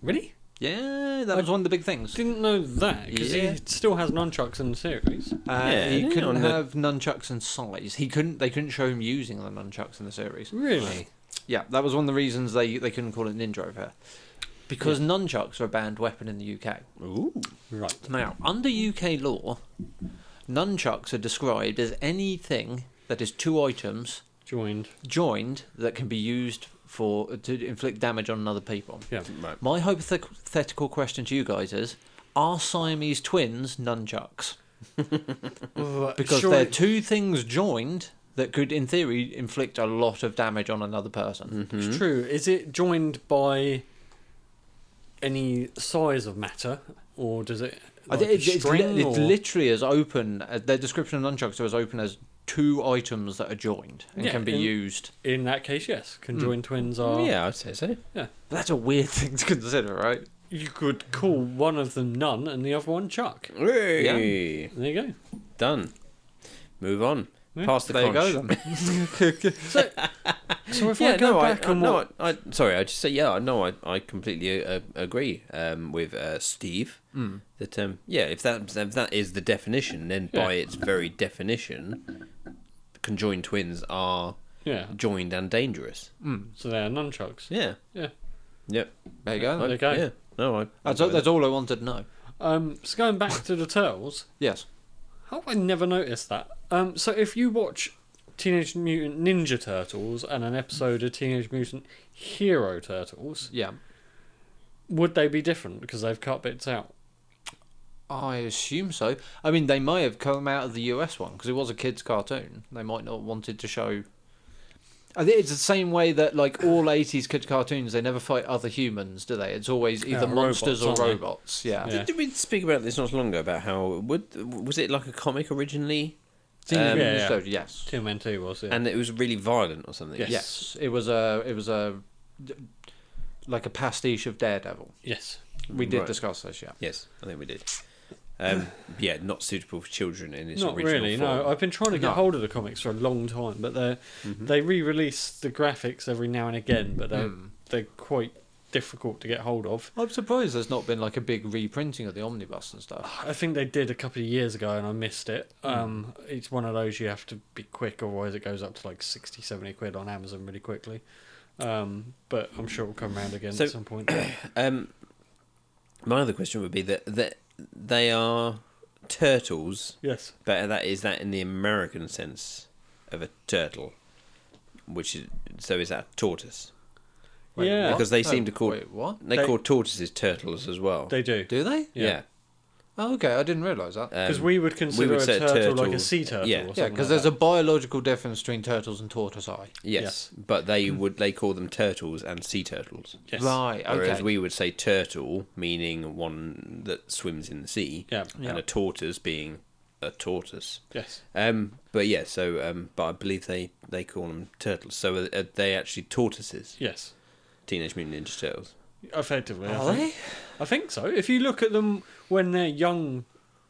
Really?
Yeah, that was one of the big things. Uh,
Didn't know that because
Yeah.
he still has nunchucks in the series.
Uh,
Yeah,
he
yeah,
couldn't
on the-
have nunchucks in size. He couldn't. They couldn't show him using the nunchucks in the series.
Really?
Yeah, that was one of the reasons they they couldn't call it ninja over here, because nunchucks are a banned weapon in the UK.
Ooh.
Right.
Now, under UK law, nunchucks are described as anything that is two items
Joined.
joined that can be used for to inflict damage on another people.
Yeah.
Right.
My hypothetical question to you guys is: Are Siamese twins nunchucks? Because
Surely-
they're two things joined
that could, in theory, inflict a lot of damage on another
Mm-hmm.
person.
It's true. Is it joined by any size of matter, or does it?
I
Like
think
a
it's, it's,
string,
li- it's
or-
literally as open. Uh, their description of nunchucks are as open as two items that are joined and
Yeah,
can be
and-
used.
in that case, yes. Conjoined twins are.
Oh, Yeah, I'd say so.
But that's a weird *laughs* thing to consider, right?
You could call one of them none and the other one Chuck.
Hey,
There you go.
Done. Move on.
Yeah.
Past the
There you
conch.
go then. *laughs*
So if
Yeah,
I go
no, I,
back
I,
on
no,
what,
I, I, sorry, I just say yeah, no, I, I completely uh, agree um, with uh, Steve
Hmm.
that um, yeah, if that if that is the definition, then by its very definition, conjoined twins are
yeah,
joined and dangerous.
so they are nunchucks.
Yeah,
Yeah.
yep.
There you go.
There
Then.
you go.
Yeah, no, I.
That's, all- that's all I wanted to know.
Um, so going back to the turtles,
Yes.
how have I never noticed that? Um, so if you watch Teenage Mutant Ninja Turtles and an episode of Teenage Mutant Hero Turtles,
Yeah.
would they be different because they've cut bits out?
I assume so. I mean, they may have come out of the US one because it was a kids' cartoon. They might not have wanted to show. I think it's the same way that like all *laughs* '80s kids' cartoons, they never fight other humans, do they? It's always either
Yeah,
monsters
robots,
or
aren't they?
robots. Yeah. Um,
Yeah.
Did we speak about this not long ago about how would was it like a comic originally
Teenage
Um,
Yeah,
Mutant
yeah.
Ninja Turtles, Yes.
Tim and Two was it?
and it was really violent or something?
Yes.
Yes. It was a. It was a. Like a pastiche of Daredevil.
yes.
We did
Right.
discuss this. Yeah.
Yes, I think we did. Um, yeah, not suitable for children in its
Not
original
really.
form. Mm-hmm.
No, I've been trying to get
No.
hold of the comics for a long time, but they they re-release the graphics every now and again, but they're
Mm.
they're quite difficult to get hold of.
Um, I'm surprised there's not been like a big reprinting of the omnibus and stuff.
I think they did a couple of years ago, and I missed it.
Mm.
Um, It's one of those you have to be quick, otherwise it goes up to like 60, 70 quid on Amazon really quickly. Um, but I'm sure it'll come round again
So-
at some
*coughs*
point.
Um, my other question would be that that they are turtles,
yes.
but that is that in the American sense of a turtle, which is so is that a tortoise?
Wait,
yeah,
what?
Because they
Oh,
seem to call
Wait, what?
they,
They-
call tortoises turtles as well.
they do.
Do they?
yeah,
Oh, okay. I didn't realize that.
Because
Um,
we would consider
would
a
say a
turtle, like
turtle-
a sea turtle
yeah.
or something.
Yeah, because
like
there's
that.
a biological difference between turtles and tortoise eye.
yes, but they would they call them turtles and sea turtles.
Yes.
Right,
Whereas
okay.
we would say turtle, meaning one that swims in the sea,
Yeah.
Yeah.
and a tortoise being a tortoise.
Yes.
Um, but yeah, so um, but I believe they they call them turtles. So are, are they actually tortoises?
Yes.
Teenage Mutant Ninja Turtles.
Effectively. I
Are
think.
they?
I think so. If you look at them when they're young,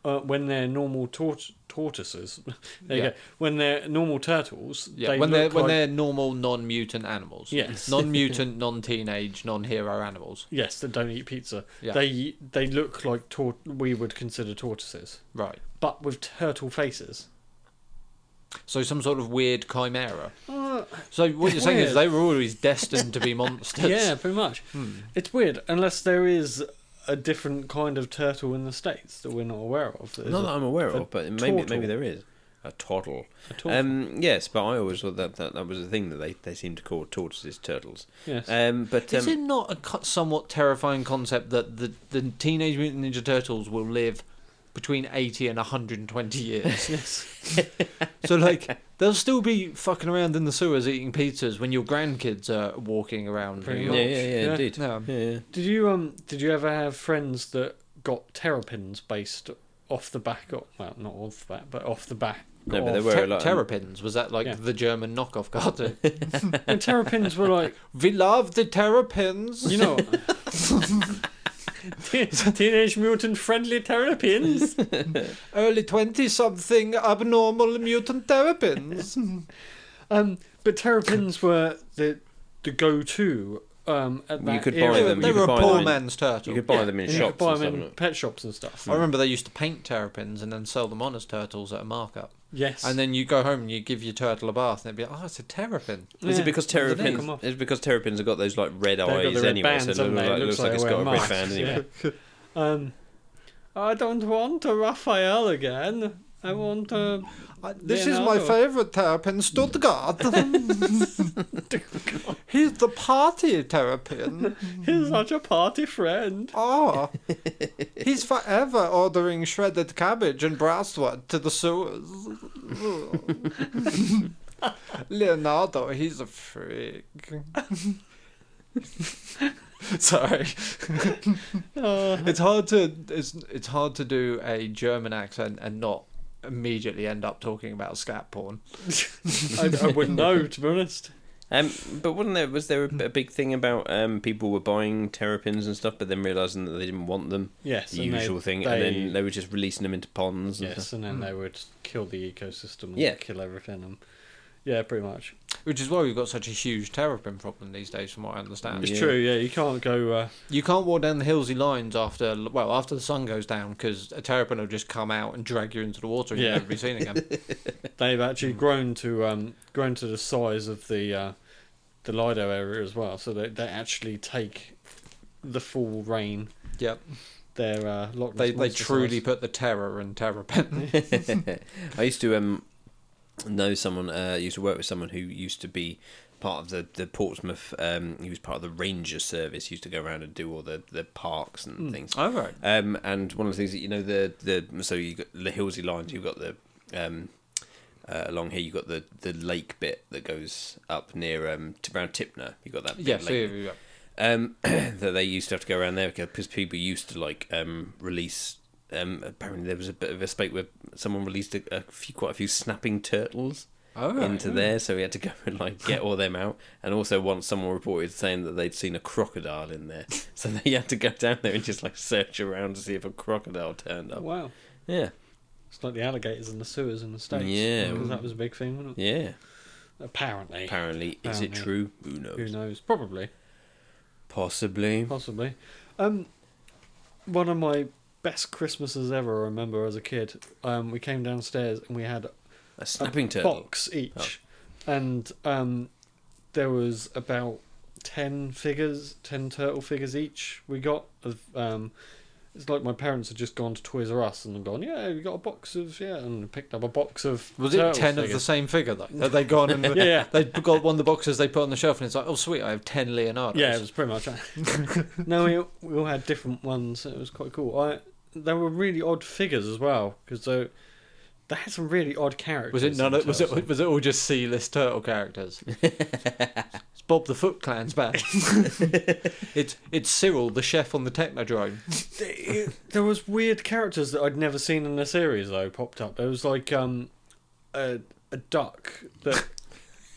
uh, when they're normal tort- tortoises, *laughs* there you
Yeah.
go. When they're normal turtles,
Yeah,
they
when they're
look
when
like-
they're normal non-mutant animals.
Yes. *laughs*
non-mutant, non-teenage, non-hero animals.
yes, they don't eat pizza.
Yeah.
They they look like tor- we would consider tortoises,
Right.
but with turtle faces.
So some sort of weird chimera.
Uh,
So what you're saying is
Weird.
they were always destined to be monsters. *laughs*
yeah, pretty much.
Hmm.
It's weird, unless there is a different kind of turtle in the states that we're not aware of. There's
Not
a-
that I'm aware
a
of, but maybe
tortle.
maybe there is a turtle.
a tortoise.
Um, yes, but I always thought that that, that was a thing that they, they seem to call tortoises turtles.
yes.
uh,
Um, but
Is
um,
it not a co- somewhat terrifying concept that the, the Teenage Mutant Ninja Turtles will live between 80 and 120 years?
yes.
So like *laughs* they'll still be fucking around in the sewers eating pizzas when your grandkids are walking around.
Pretty
yeah,
New
yeah,
York.
yeah,
Yeah.
indeed.
Yeah.
Yeah, yeah.
Did you um did you ever have friends that got terrapins based off the back of well not off that but off the back?
No,
of-
but there were a
Ter-
lot. of-
terrapins was that like
Yeah.
the German knockoff *laughs* cartoon?
And terrapins were like
we love the terrapins.
you know Te- teenage mutant friendly terrapins.
Early twenty something abnormal mutant terrapins.
Um, but terrapins were the the go to um at
You
that
could buy
era.
they were,
them,
they
you
were a
could buy
poor
them in-
man's turtle.
you could buy
Yeah,
them in
and you
shops.
could buy
and
them in
stuff.
pet shops and stuff.
I remember they used to paint terrapins and then sell them on as turtles at a markup.
Yes,
And then you go home and you give your turtle a bath, and they'd be like, "Oh, it's a terrapin."
Is
Yeah.
it because
They pick
terrapins?
'em off.
Is it because terrapins have got those like red
got the
eyes
red
anyway?
bands,
so it
haven't
looks
they?
like,
It looks
looks like
like
it's
I
got
wear
a red
masks,
band anyway.
um, I don't want a Raphael again. I want a
Uh,
Leonardo.
favorite terrapin, Stuttgart. He's the party terrapin.
He's such a party friend.
Oh, he's forever ordering shredded cabbage and brasswork to the sewers. *laughs* Leonardo, he's a freak. Sorry,
Uh,
it's hard to it's it's hard to do a German accent and not immediately end up talking about scat porn.
I, I wouldn't know, to be honest.
Um, but wasn't there was there a, a big thing about um, people were buying terrapins and stuff, but then realizing that they didn't want them,
Yes,
the
and they-
usual thing, and
they-
then they were just releasing them into ponds. And
Yes,
stuff.
and then they would kill the ecosystem and
Yeah.
kill everything. And, yeah, pretty much.
Which is why we've got such a huge terrapin problem these days, from what I understand.
It's
Yeah.
true, yeah, you can't go. Uh,
You can't walk down the hillsy lines after well after the sun goes down because a terrapin will just come out and drag you into the water and
Yeah.
you'll never be seen
*laughs*
again.
they've actually grown to um, grown to the size of the uh, the Lido area as well, so they, they actually take the full reign.
yep,
Their uh, Loch Ness
they they
monster
truly
size.
put the terror in terrapin.
*laughs*
*laughs*
I used to um, know someone. Uh, used to work with someone who used to be part of the the Portsmouth. Um, he was part of the Ranger Service. He used to go around and do all the the parks and
Hmm.
things.
All right.
Um, and one of the things that you know the the so you got the hillsy lines. You've got the um, uh, along here. You have got the the lake bit that goes up near um t- around Tipner. You got that. big
Yeah, so
lake.
yeah, yeah.
Um, *clears throat* that they used to have to go around there because people used to like um release. Um, apparently there was a bit of a spate where someone released a, a few, quite a few snapping turtles
All right.
into there, so we had to go and like get all them out. And also, once someone reported saying that they'd seen a crocodile in there, *laughs* so they had to go down there and just like search around to see if a crocodile turned up.
Wow.
Yeah,
It's like the alligators and the sewers in the States.
Yeah.
Because that was a big thing, wasn't it?
yeah.
Apparently.
Apparently, is it
Apparently.
true? Who
Who
knows?
knows? Probably.
Possibly.
Possibly. Um, one of my best Christmases ever, I remember as a kid. Um, we came downstairs and we had
A snapping turtle.
box each, and um, there was about ten figures, ten turtle figures each. We got of um, it's like my parents had just gone to Toys R Us and gone, yeah, we got a box of yeah, and picked up a box of
Was it
turtle
ten of the
figures.
same figure though? That they
*laughs*
gone and
Yeah, yeah.
they got one of the boxes they put on the shelf and it's like, oh sweet, I have ten Leonardos.
Yeah, it was pretty much.
*laughs*
that. no, we all- we all had different ones. and It was quite cool. I they were really odd figures as well because they they had some really odd characters.
Was it none? Of, was
themselves.
it was it all just C-list
*laughs*
turtle characters? it's Bob the Foot Clan's back. it's it's Cyril the chef on
*laughs*
the Technodrome.
there was weird characters that I'd never seen in the series though popped up. There was like um a a duck that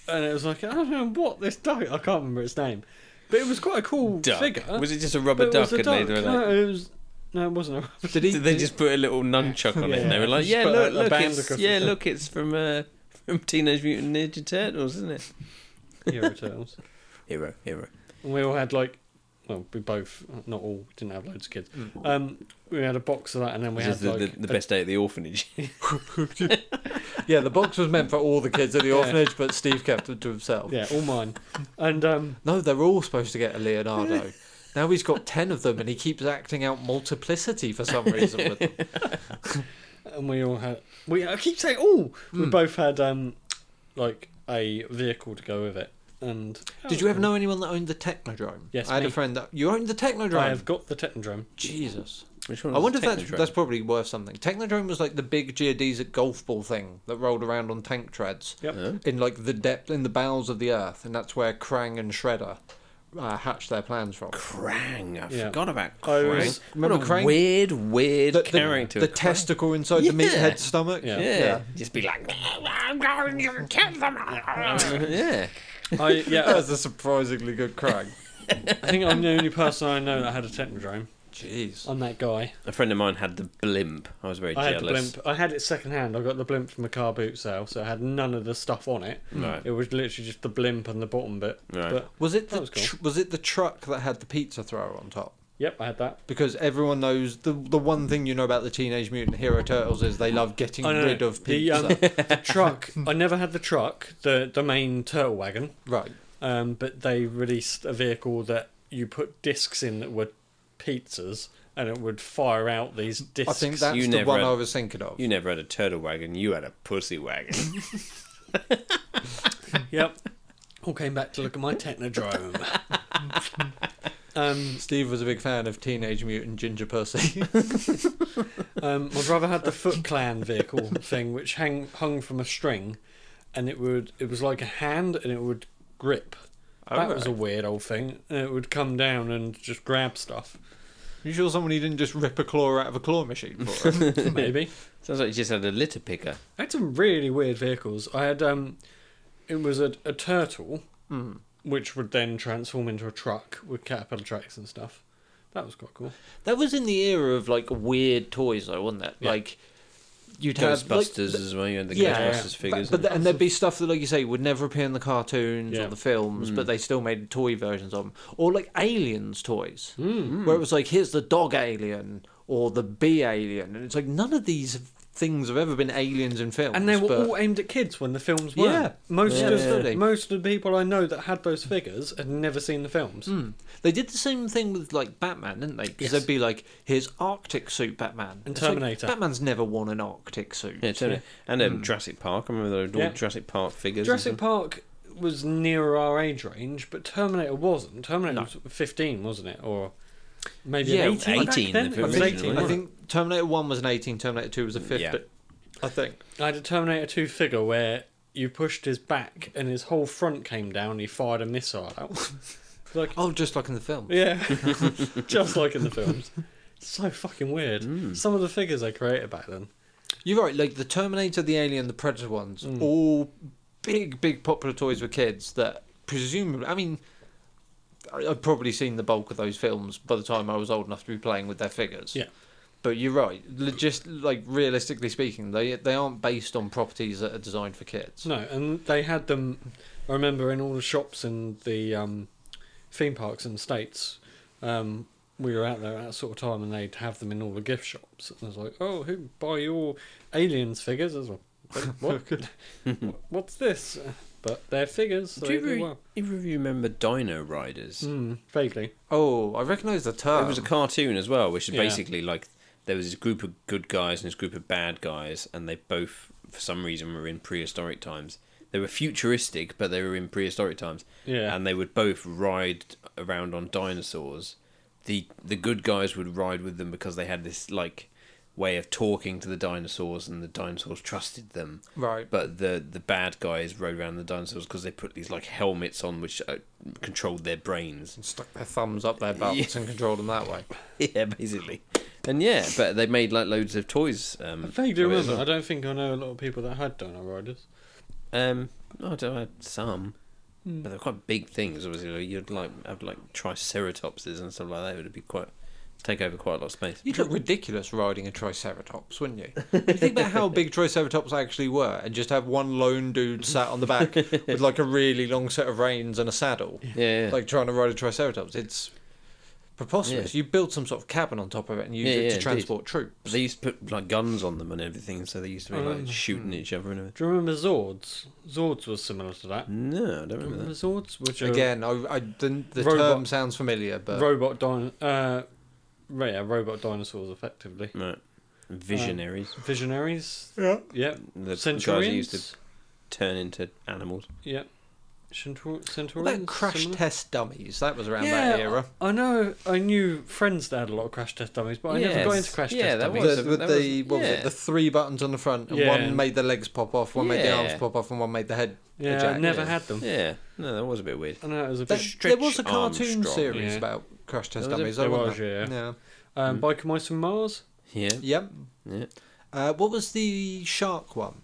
and it was like I don't know what this duck I can't remember its name. But it was quite a cool
Duck.
figure.
Was it just a
But
rubber
it was
duck?
a
and they were like-
*laughs* No, it was no, it wasn't a
Did he?
Did they just put a little nunchuck on it? And they were like,
Just
"Yeah,
put a-
look,
a
look,
band
it's,
across
yeah,
the
look, it's from uh, from Teenage Mutant Ninja Turtles, isn't it?"
*laughs* Hero Turtles.
Hero, hero.
And we all had like well, we both not all we didn't have loads of kids. Um we had a box of that and then we
This is
had
the,
like
the, the
a-
best day at the orphanage. *laughs*
yeah, the box was meant for all the kids at the orphanage, but Steve kept it to himself.
yeah, all mine. And um
No, they're all supposed to get a Leonardo. now he's got ten of them, and he keeps acting out multiplicity for some reason with them.
*laughs* and we all had we I keep saying all
Hmm.
we both had um like a vehicle to go with it and
Did you ever know anyone that owned the Technodrome?
Yes,
I had
me.
a friend that you owned the Technodrome.
I have got the
*laughs*
Technodrome
Jesus,
Which one?
I
was
wonder if
the
that's,
Technodrome?
that's probably worth something. Technodrome was like the big geodesic golf ball thing that rolled around on tank treads
Yep.
Huh?
in like the depth in the bowels of the earth, and that's where Krang and Shredder uh, hatched their plans from.
Krang. I
Yeah.
forgot about
I
Krang.
was-
Remember
what a
Krang?
weird, weird
The, the-
character.
the
Krang.
testicle inside the
Yeah.
meathead stomach.
Yeah.
Yeah.
yeah.
just be like, I'm going to kill them. yeah,
I yeah
That's a surprisingly
*laughs*
good Krang.
I think I'm the only person I know that had a Technodrome
Jeez.
Um,
I'm that guy
a friend of mine had the blimp. I was very
I had the
jealous.
blimp I had it second hand I got the blimp from a car boot sale so it had none of the stuff on it
Hmm. Right.
it was literally just the blimp and the bottom bit
Right.
but
Was it the
was
was,
cool.
tr- was it the truck that had the pizza thrower on top?
yep I had that
Because everyone knows the the one thing you know about the Teenage Mutant Hero Turtles is they love getting
I know
rid of
the,
pizza.
um,
*laughs*
the
*laughs*
truck I never had the truck the the main turtle wagon
right.
um, but they released a vehicle that you put discs in that were pizzas, and it would fire out these discs.
I think that's
you
the
never
one
had-
I was thinking of.
you never had a turtle wagon. You had a pussy wagon.
*laughs* Yep. All came back to look at my
*laughs*
Technodrome. um,
Steve was a big fan of Teenage Mutant Ginger *laughs* Pussy.
um, my brother had the Foot Clan vehicle thing, which hang, hung from a string, and it would it was like a hand and it would grip. that was a weird old thing. And it would come down and just grab
*laughs*
stuff.
You sure somebody didn't just rip a claw out of a claw machine for us?
Maybe.
Sounds like you just had a litter picker.
I had some really weird vehicles. I had um, it was a, a turtle, which would then transform into a truck with caterpillar tracks and stuff. That was quite cool.
*laughs* That was in the era of like weird toys, though, wasn't it?
Yeah.
Like you'd have like,
Ghostbusters as well. You had the
Yeah,
Ghostbusters
yeah.
figures.
But, but th- and there'd be stuff that, like you say, would never appear in the cartoons
Yeah.
or the films,
Hmm.
but they still made toy versions of them, or like aliens toys,
Hmm.
mm. where it was like, here's the dog alien or the bee alien, and it's like none of these things have ever been aliens in films.
And they were
but-
all aimed at kids when the films were.
Yeah.
most
Yeah,
of
absolutely.
most of the people I know that had those figures had never seen the films.
Hmm. They did the same thing with like Batman, didn't they?
Yes.
Because they'd be like, "Here's Arctic suit Batman."
And
It's like,
Terminator.
Batman's never worn an Arctic suit.
yeah, totally. And um, Jurassic Park. I remember there were all
Yeah.
Jurassic Park figures.
Jurassic
Jurassic Park.
Park was nearer our age range, but Terminator wasn't. Terminator was fifteen, wasn't it? Or maybe
Yeah,
an eighteen. back
18,
then?
the
It was
original,
18,
wasn't
I
wasn't it?
think Terminator One was an eighteen, Terminator Two was a
Yeah.
fifteen. I think.
I had a Terminator 2 figure where you pushed his back and his whole front came down and he fired a missile out. *laughs* like,
Oh, just like in the film.
yeah, *laughs* just like in the films. So fucking weird. Some of the figures they created back then.
You're right. Like the Terminator, the Alien, the Predator ones,
Mm.
all big, big popular toys with kids. That presumably, I mean, I- I'd probably seen the bulk of those films by the time I was old enough to be playing with their figures.
Yeah.
But you're right. Just like realistically speaking, they they aren't based on properties that are designed for kids.
No, and they had them. I remember in all the shops in the um, theme parks in the states. Um, we were out there at that sort of time, and they'd have them in all the gift shops. And I was like, "Oh, who buy your aliens figures?" I was like, "What? what- what's this?" But they're figures. So
Do you,
they
re-
were.
you remember Dino Riders?
Mm, vaguely.
Oh, I recognise the term.
It was a cartoon as well, which is
Yeah.
basically like there was this group of good guys and this group of bad guys, and they both, for some reason, were in prehistoric times. They were futuristic, but they were in prehistoric times.
Yeah.
And they would both ride around on dinosaurs. The the good guys would ride with them because they had this like way of talking to the dinosaurs, and the dinosaurs trusted them.
right.
But the the bad guys rode around the dinosaurs because they put these like helmets on, which uh, controlled their brains.
Stuck their thumbs up their belts and controlled them that way.
*laughs* yeah, basically. And yeah, but they made like loads of toys. Um,
I vaguely
of it as
remember. I don't think I know a lot of people that had Dino Riders.
well. Um, I don't know, some,
Hmm.
but they're quite big things. Obviously, Like, you'd like have like triceratopses and stuff like that. It would be quite take over quite a lot of space.
You'd look
*laughs*
ridiculous riding a Triceratops, wouldn't you? you think about how big Triceratops actually were and just have one lone dude sat on the back with like a really long set of reins and a saddle,
Yeah, yeah.
like trying to ride a Triceratops. It's preposterous. You build some sort of cabin on top of it and use
Yeah,
it
yeah,
to
indeed.
transport troops.
they used to put like guns on them and everything, so they used to be
Oh.
like shooting each other and everything.
Do you remember Zords? Zords was similar to that.
No, I don't remember
Remember
that.
Zords? Which are-
Again, I, I the, the
Robot-
term sounds familiar, but
robot din- uh right, yeah, robot dinosaurs effectively.
Right. Visionaries,
Visionaries.
Yeah.
Yep.
the guys that
Centurions.
used to turn into animals.
Yep. Centur-
What
Centurions.
about crash
similar?
test dummies? That was around
Yeah,
that era.
I know. I knew friends that had a lot of crash test dummies, but I never got
Yes.
into crash
Yeah,
test
that
dummies.
was
The,
a-
with
that was-
the what was
yeah.
it? The three buttons on the front, and
Yeah.
one made the legs pop off, one made the arms
Yeah.
pop off, and one made the head.
Yeah, I
eject.
never had them.
Yeah, no, that was a bit weird.
I know it was a
There-
bit.
there was a
Stretch arm
cartoon
strong.
series
Yeah.
about crash test
There was
dummies.
a- there
wasn't
was,
there?
um, Biker Mice from Mars.
Yeah,
Yeah. Yep.
yeah.
Uh, what was the shark one?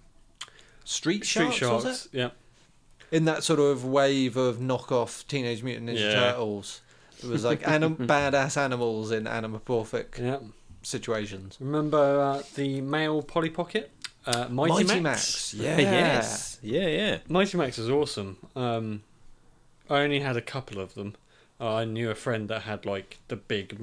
Street,
Street
sharks,
Sharks.
was
Yeah.
it? In that sort of wave of knockoff Teenage Mutant Ninja
Yeah.
Turtles. It
*laughs*
was like anim- badass animals in anamorphic
Yeah.
situations.
Remember uh, the male Polly Pocket? Uh, Mighty, Max.
*laughs*
Yeah.
yes. Yeah, yeah.
Mighty Max is awesome. Um, I only had a couple of them. Uh, I knew a friend that had like the big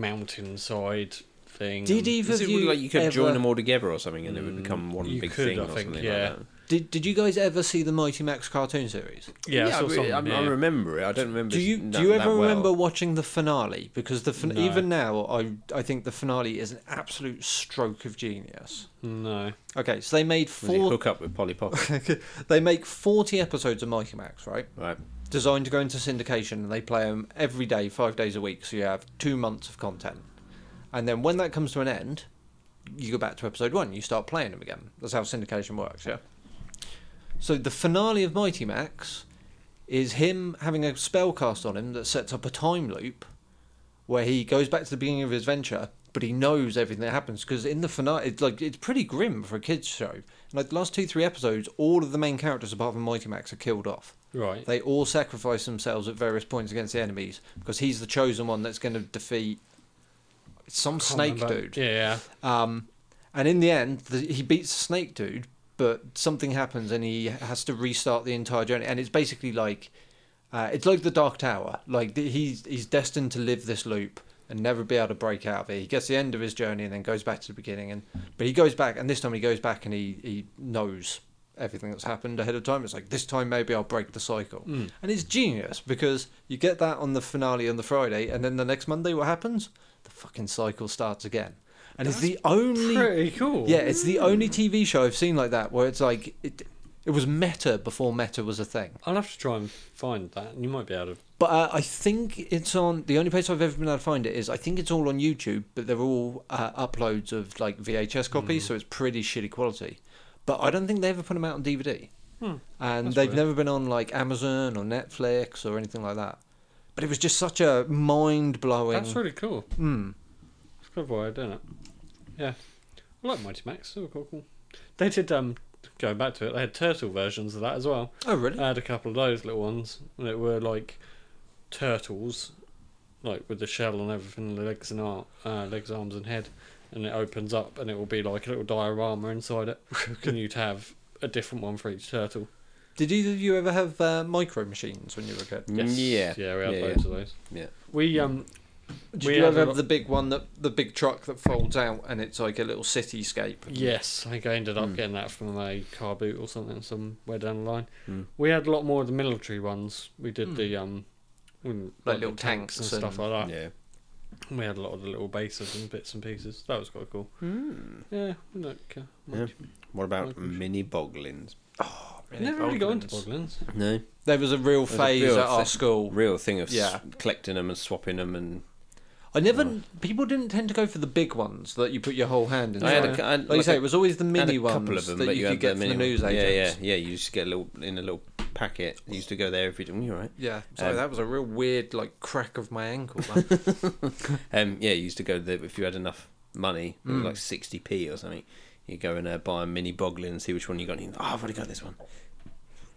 mountainside thing.
Did
and-
either
Is
of
it
you
like you could
ever,
join them all together or something, and it
Mm,
would become one
you
big
could,
thing
I
or
think,
something
yeah.
like that?
Did, did you guys ever see the Mighty Max cartoon series?
Yeah, I, saw
re-
something,
I, mean, I
yeah.
remember it. I don't remember.
Do you
it
do you
that- that
ever
well.
remember watching the finale? Because the fin-
No.
even now, I I think the finale is an absolute stroke of genius.
No.
Okay, so they made
Was it
four.
hook up with Polly Pocket?
They make forty episodes of Mighty Max, right?
*laughs* right.
Designed to go into syndication, and they play them every day, five days a week. So you have two months of content, and then when that comes to an end, you go back to episode one. You start playing them again. That's how syndication works. Yeah. So the finale of Mighty Max is him having a spell cast on him that sets up a time loop where he goes back to the beginning of his adventure, but he knows everything that happens because in the finale, it's like it's pretty grim for a kids show. Like the last two three episodes, all of the main characters apart from Mighty Max are killed off.
Right.
They all sacrifice themselves at various points against the enemies because he's the chosen one that's going to defeat some snake
Can't remember.
dude.
Yeah, yeah.
Um, and in the end, the, he beats the snake dude, but something happens and he has to restart the entire journey. And it's basically like, uh, it's like the Dark Tower. Like the, he's he's destined to live this loop and never be able to break out of it. He gets the end of his journey and then goes back to the beginning. And but he goes back, and this time he goes back and he he knows everything that's happened ahead of time. It's like this time maybe I'll break the cycle.
Mm.
And it's genius because you get that on the finale on the Friday, and then the next Monday, what happens? The fucking cycle starts again. And it's the only
Pretty cool.
yeah, it's the only TV show I've seen like that where it's like it it was meta before meta was a thing.
I'll have to try and find that. and You might be able to.
But uh, I think it's on the only place I've ever been able to find it is I think it's all on YouTube, but they're all uh, uploads of like VHS copies,
Hmm.
so it's pretty shitty quality. But I don't think they ever put them out on DVD,
Hmm,
and
that's
they've
weird.
never been on like Amazon or Netflix or anything like that. But it was just such a mind blowing.
That's really cool.
mm.
It's a clever way of doing it. Yeah. I like Mighty Max. They were quite cool. They did, um, going back to it, they had turtle versions of that as well.
Oh really?
I had a couple of those little ones that were like turtles, like with the shell and everything, the legs and ar- uh, legs, arms, and head. And it opens up, and it will be like a little diorama inside
*laughs*
it. and you'd have a different one for each turtle.
Did either of you ever have uh, micro machines when you were a kid?
Yeah.
Yeah, we had
yeah,
loads of those.
Yeah.
We um,
Did
We
you
had
ever
a
have
lot-
the big one that the big truck that folds out and it's like a little cityscape?
Yes, I think I ended up
Hmm.
Mm.
getting that from a car boot or something somewhere down the line.
Mm.
We had a lot more of the military ones. We did
Mm.
the um, we-
Like
the
little tanks
and stuff
and-
like that.
Yeah.
We had a lot of the little bases and bits and pieces. That was quite cool. Yeah, we don't care much.
What about
Microchip.
mini boglins?
Never really got into boglins.
No.
There was a real
a
phase
real
at our
thing.
school.
Real thing of
Yeah.
s collecting them and swapping them and
I never. People didn't tend to go for the big ones that you put your whole hand in.
I had
Right.
a, I had
like, you
like
say,
a-
it was always the
had a
mini ones
couple of them,
that
but
you,
had
could get from the
mini
news
one.
agents.
Yeah, yeah, yeah. You used to get a little in a little packet. You used to go there every day. You're right.
Yeah. Sorry,
Um,
that was a real weird like crack of my ankle.
*laughs*
man.
Um, yeah, you used to go there if you had enough money, it was
Mm.
like sixty p or something. You go and uh, buy a mini boglin and see which one you got. And you think, oh, I've already got this one.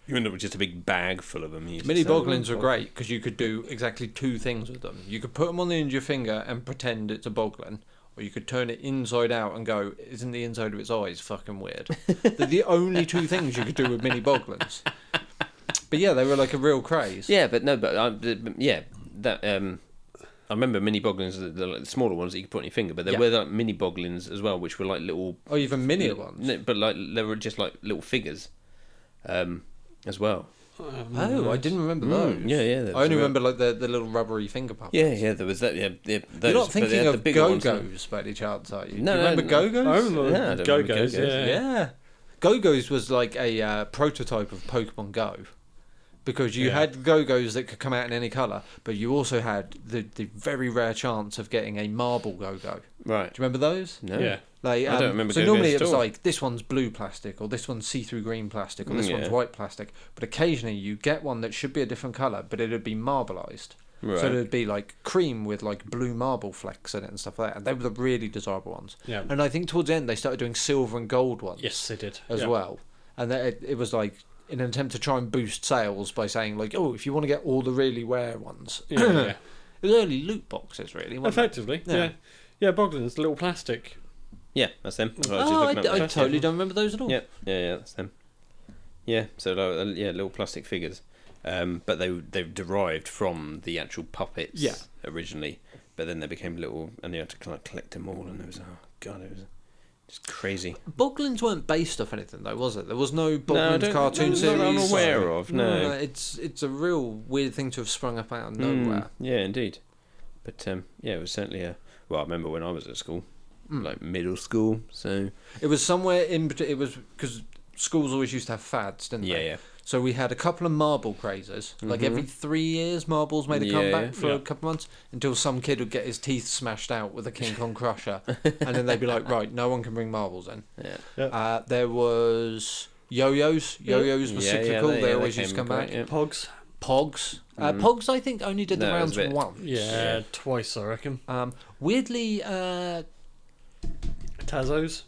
You end up with just a big bag full of them. You used to
mini
sell.
boglins were great because you could do exactly two things with them. You could put them on the end of your finger and pretend it's a boglin. Or you could turn it inside out and go, isn't the inside of its eyes fucking weird?
*laughs*
They're the only two things you could do with mini boglins. But yeah, they were like a real craze.
Yeah, but no, but I, but- but yeah, that um, I remember mini boglins, the, the like, smaller ones that you could put on your finger, but there
Yeah.
were like mini boglins as well, which were like little
Or even mini ones.
No, but like they were just like little figures, um, as well.
Um,
Oh, I didn't remember those.
Mm, yeah, yeah. there
I
was
only
a-
remember like the, the little rubbery finger puppets.
Yeah, yeah. There was that. Yeah, yeah those,
You're not
but they had
thinking
the
of
bigger
Go
ones, didn't
Go's by any chance, are
No,
you? Do you
no,
remember
no.
Go Go's?
I remember
Yeah, I don't
Go
remember
Go's.
Go-Go's.
Yeah.
Yeah. Go Go's was like a uh, prototype of Pokemon Go. Because you
Yeah.
had Go Go's that could come out in any colour, but you also had the, the very rare chance of getting a marble Go Go.
you? Right.
Do you remember those?
No.
Yeah.
Like,
I
um,
don't remember
So
Go-Go's
normally it
at
was
all.
like this one's blue plastic, or this one's see-through green plastic, or
Mm,
this one's
yeah.
white plastic. But occasionally you get one that should be a different colour, but it'd be marbleized.
Right.
So it'd be like cream with like blue marble flecks in it and stuff like that. And they were the really desirable ones.
Yeah.
And I think towards the end they started doing silver and gold ones
Yes, they did.
as
yeah.
well. And that it, it was like in an attempt to try and boost sales by saying like, oh, if you want to get all the really rare ones,
Yeah,
*clears throat*
*coughs* yeah.
it was early loot boxes really. Wasn't it?
Effectively.
Yeah.
Yeah. yeah. Yeah, boglins, the little plastic.
Yeah, that's them. That's what I was
Oh, I,
just looking
I
up there.
totally don't remember those at all.
Yeah, yeah, yeah. That's them. Yeah. So like, uh, yeah, little plastic figures, um, but they they derived from the actual puppets.
Yeah.
Originally, but then they became little, and you had to kind of collect them all, and it was oh god, it was just crazy.
Boglins weren't based off anything though, was it? There was no
I
Boglins
don't-
cartoon
no, not
series.
that I'm aware of, no.
it's it's a real weird thing to have sprung up out of
Mm,
nowhere.
yeah, indeed. But um, yeah, it was certainly a. Well, I remember when I was at school,
Mm.
like middle school. So
It was somewhere in bet- it was because schools always used to have fads, didn't
yeah,
they?
yeah,
So we had a couple of marble crazes. Like
Mhm.
every three years, marbles made a
Yeah,
comeback
yeah.
for
Yeah.
a couple of months until some kid would get his teeth smashed out with a King Kong
*laughs*
crusher, and then they'd be like, "Right, no one can bring marbles in."
yeah.
Yeah.
Uh, there was Yo-yos, yo-yos were
Yeah, yeah,
cyclical.
yeah,
they always
came
used to come
back,
back.
yeah.
Pogs.
Pogs, uh, Pogs, I think only did the
Mm. No, it was
rounds
a bit-
once.
Yeah, twice I reckon.
Um, weirdly, uh,
Tazos.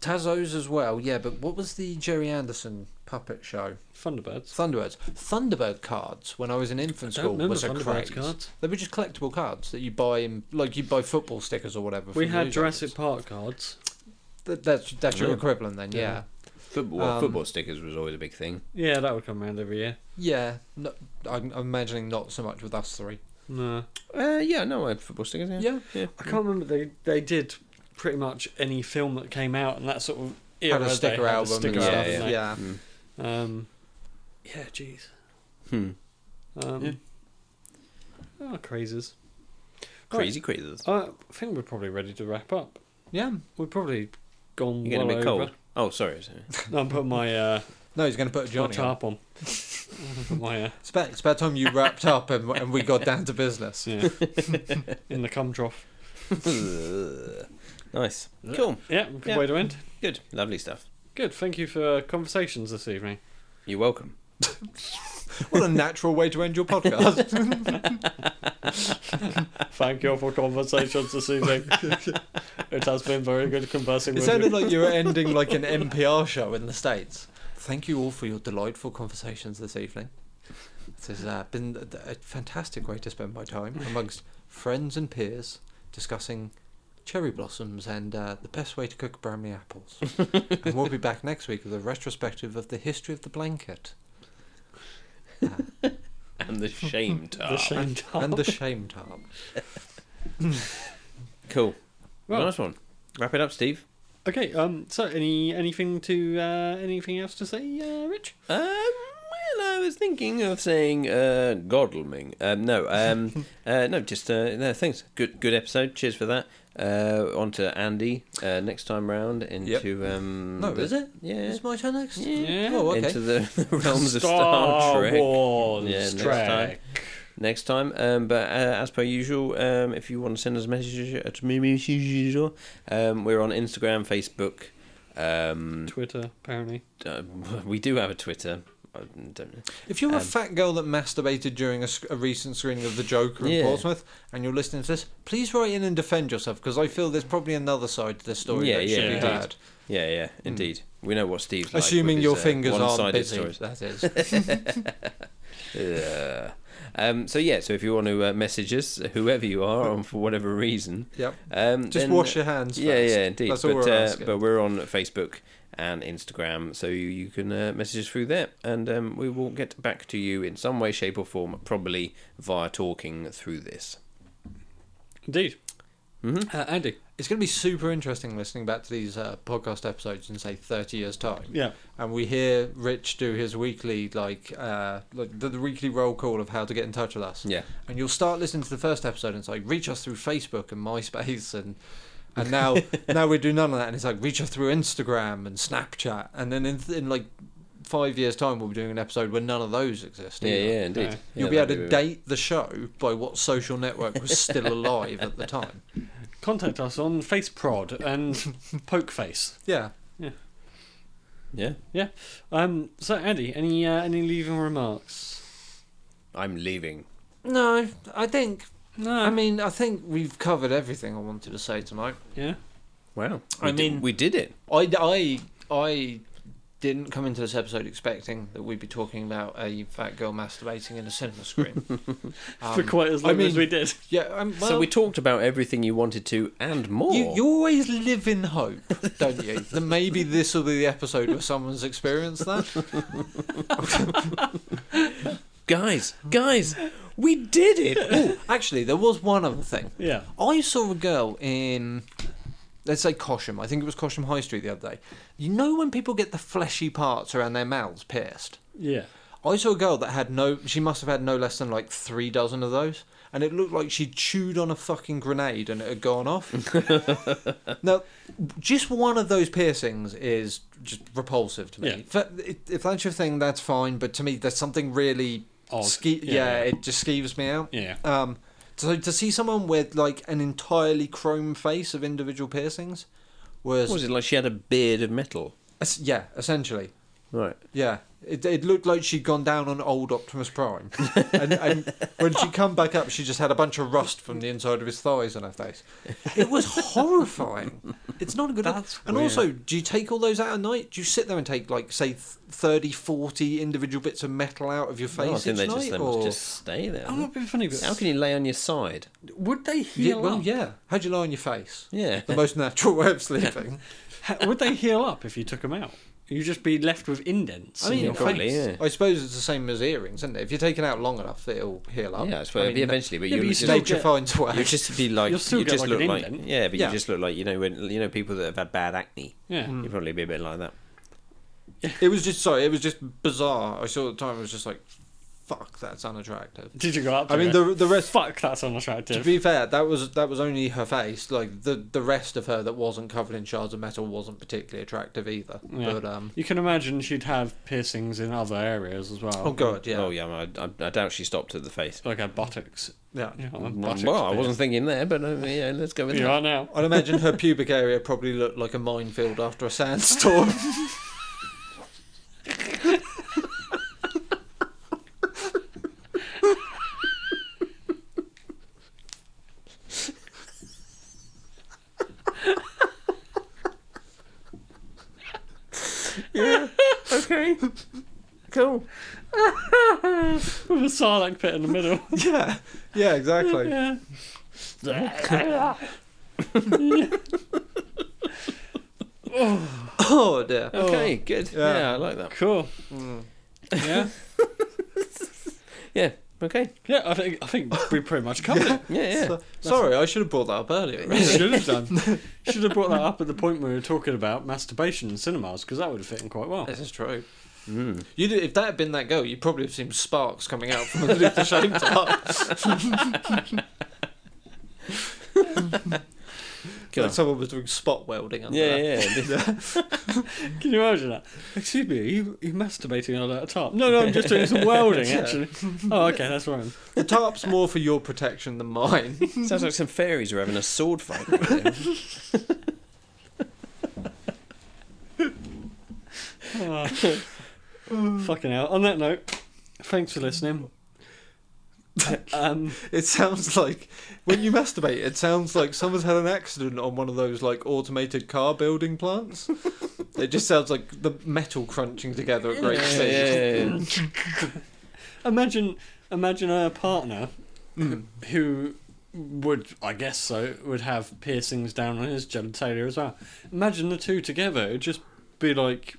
Tazos as well. Yeah, but what was the Jerry Anderson puppet show?
Thunderbirds.
Thunderbirds. Thunderbird cards. When I was in infant
I don't
school,
remember
was a
Thunderbirds
craze.
cards.
They were just collectible cards that you buy in, like you buy football stickers or whatever.
We
from
had
newsagents.
Jurassic Park cards.
Th- that's that's your
Yeah.
equivalent then. Yeah,
Football, well,
Um,
football stickers was always a big thing.
Yeah, that would come around every year.
yeah. No, I'm, I'm imagining not so much with us three.
No.
Uh, yeah, no, I had football stickers. Yeah,
Yeah.
yeah.
I can't remember. They they did pretty much any film that came out and that sort of era.
had a
they
sticker
had a
album
sticker
and
album,
stuff.
didn't
Yeah,
they?
yeah.
Mm.
Um, yeah, jeez.
Hmm.
Um,
Yeah.
Oh, crazes.
Crazy, crazy.
I think we're probably ready to wrap up. We've probably gone
You're getting
well
a bit
over.
cold. Oh, sorry. sorry.
No, I'm putting my, uh,
No, he's going to put a
my
Johnny. on.
tarp on. my,
*laughs*
uh,
It's about, it's about time you wrapped up and, and we got down to business.
yeah. In the cum trough.
*laughs* nice. Cool.
Yeah, good
Yeah.
way to end.
Good. Lovely stuff.
Good. Thank you for uh, conversations this evening.
You're welcome.
What a natural way to end your podcast.
Thank you for conversations this
*laughs*
evening. it has been very good conversing
it
with
sounded
you.
like you were ending like an NPR show in the States. Thank you all for your delightful conversations this evening. This has uh, been a, a fantastic way to spend my time amongst friends and peers discussing cherry blossoms and uh, the best way to cook brownie apples. and we'll be back next week with a retrospective of the history of the blanket Uh,
And *laughs* the shame
the
tarp.
shame tarp.
and the shame tarp.
Cool.
Well-
nice one. Wrap it up, Steve.
Okay, um, so any anything to uh, anything else to say, uh, Rich?
Um, well, I was thinking of saying uh, Godalming. Um, no, um, uh, no, just uh, no, thanks. Good, good episode. Cheers for that. Uh, on to Andy uh, next time round into um,
No,
the-
is it?
Yeah,
It's my turn next?
Yeah.
Oh, okay.
into the, *laughs* the realms of Star Trek.
Wars.
Yeah, next
Trek.
time. next time. Um, but uh, as per usual, um, if you want to send us messages, uh, to me, me, as usual, um, we're on Instagram, Facebook. Um,
Hmm. Twitter, apparently.
uh, *laughs* we do have a Twitter. I don't know.
If you're a
Um,
fat girl that masturbated during a, sc- a recent screening of The Joker in
Yeah.
Portsmouth and you're listening to this, please write in and defend yourself because I feel there's probably another side to this story
Yeah,
that
yeah,
should be
indeed.
heard.
Yeah, yeah, indeed. We know what Steve's like
Hmm. Assuming
with
your
his, uh,
fingers aren't
one-sided
busy.
stories.
That is.
*laughs* Ugh. Um, so yeah, so if you want to uh, message us, *laughs* whoever you are, on for whatever reason,
yep.
um,
Just
then-
wash your hands.
Yeah,
first.
yeah, indeed.
That's
but,
all we're
uh,
asking.
but we're on Facebook and Instagram, so you, you can uh, message us through there, and um, we will get back to you in some way, shape, or form, probably via talking through this.
Indeed.
Mhm.
Uh, Andy.
It's going to be super interesting listening back to these uh, podcast episodes in say 30 years time.
Yeah.
and we hear Rich do his weekly like uh like the, the weekly roll call of how to get in touch with us.
Yeah.
And you'll start listening to the first episode and it's like reach us through Facebook and MySpace and
*laughs*
and now now we do none of that and it's like reach us through Instagram and Snapchat and then in, in like five years time we'll be doing an episode where none of those exist.
Yeah,
either.
yeah, indeed.
Okay.
Yeah,
You'll be able
that'd
to
really-
date the show by what social network was still
*laughs*
alive at the time.
Contact us on FaceProd and *laughs* Pokeface.
Yeah.
Yeah,
Yeah. Um, so, Andy, any uh, any leaving remarks?
I'm leaving.
No, I think
No.
I mean I think we've covered everything I wanted to say tonight.
yeah.
Wow,
I
We did-
mean-
we did it.
I, I, I didn't come into this episode expecting that we'd be talking about a fat girl masturbating in a
*laughs*
cinema screen. Um,
*laughs* For quite as
I
long as
mean-
we did.
yeah, um, well,
so we talked about everything you wanted to and more.
you, you always live in hope,
*laughs*
don't you? that maybe this will be the episode where someone's experienced that.
guys, guys, we did
*laughs*
it.
Ooh, actually, there was one other thing.
*laughs* Yeah.
I saw a girl in, let's say Cosham. I think it was Cosham High Street the other day. You know when people get the fleshy parts around their mouths pierced?
Yeah.
I saw a girl that had no. She must have had no less than like three dozen of those, and it looked like she chewed on a fucking grenade and it had gone
*laughs*
off. now, just one of those piercings is just repulsive to me.
Yeah.
Fa- If, if that's your thing, that's fine. But to me, there's something really.
Odd.
Ske-
Yeah,
yeah,
yeah.
it just skeeves me out.
Yeah.
Um, so to see someone with like an entirely chrome face of individual piercings was,
What was it like? She had a beard of metal.
es- yeah, essentially.
Right.
Yeah, it, it looked like she'd gone down on old
*laughs*
Optimus Prime, and, and when she come back up, she just had a bunch of rust from the inside of his thighs on her face. It was horrifying. It's not a good.
That's
and
weird.
also, do you take all those out at night? Do you sit there and take like say th- 30, 40 individual bits of metal out of your face
Well, Oh, I
each
think they just,
night?
they
or-
must just stay there.
Oh, it'd be funny, but
How can you lay on your side?
would they
yeah,
heal
well,
up?
yeah. How'd you lie on your face? *laughs*
Yeah.
The most natural way of sleeping.
Ha- would they heal up if you took them out? You'd just be left with indents
I
in
mean,
your
probably,
face.
yeah.
I suppose it's the same as earrings, isn't it? If you're taken out long enough, it'll heal up.
Yeah, I suppose
I
it'd be
mean,
eventually, but
yeah,
you
but
would
you
just,
still
Nature
get-
finds a way.
you just be like,
You'll still
you
get
just
like
look
an
like,
indent.
yeah, but
Yeah.
you just look like you know when you know people that have had bad acne.
Yeah.
You'd probably be a bit like that.
It was just sorry. It was just bizarre. I saw it at the time. I was just like, "Fuck, that's unattractive."
Did you go up? To
I mean,
it?
the the rest.
fuck that's
To
unattractive.
be fair, that was that was only her face. Like the the rest of her that wasn't covered in shards of metal wasn't particularly attractive either.
Yeah.
But um,
you can imagine she'd have piercings in other areas as well.
oh god, yeah,
Oh yeah, I, I, I doubt she stopped at the face.
Like her buttocks.
yeah.
You know, her
Well,
buttocks
I
bit.
wasn't thinking there, but uh, yeah, let's go with
You
that.
are now. *laughs*
I'd imagine her pubic area probably looked like a minefield after a sandstorm.
Okay, cool.
With a sarlacc pit in the middle.
*laughs* *laughs* yeah, yeah, exactly.
yeah.
Oh dear.
Okay, good.
Yeah.
Yeah. I like that.
Cool.
Mm.
Yeah.
Yeah. Okay.
Yeah, I think I think we pretty much
*laughs*
covered it.
Yeah, yeah.
So- sorry, I should have brought that up earlier.
We
*laughs*
Should have done. Should have brought that up at the point where we were talking about masturbation in cinemas because that would have fit in quite well.
This is true.
Mm.
You did, if that had been that girl, you'd probably have seen sparks coming out from underneath the shame
*laughs* Cool.
Like someone was doing spot welding under
Yeah,
there.
yeah. This-
Can you imagine that? Excuse me, are you, are you masturbating on that top? No, no, I'm just doing
*laughs*
some welding
Yeah.
actually. Oh, okay, that's fine.
The tarp's more for your protection than mine.
*laughs*
*laughs*
Sounds like some fairies are having a sword fight. right there.
Oh. Fucking hell. On that note, thanks for listening. um,
It sounds like when you masturbate, it sounds like someone's had an accident on one of those like automated car building plants. It just sounds like the metal crunching together at great
Yeah,
speed.
yeah, yeah.
imagine, imagine a partner
Hmm.
who would, I guess so, would have piercings down on his genitalia as well. Imagine the two together. It'd just be like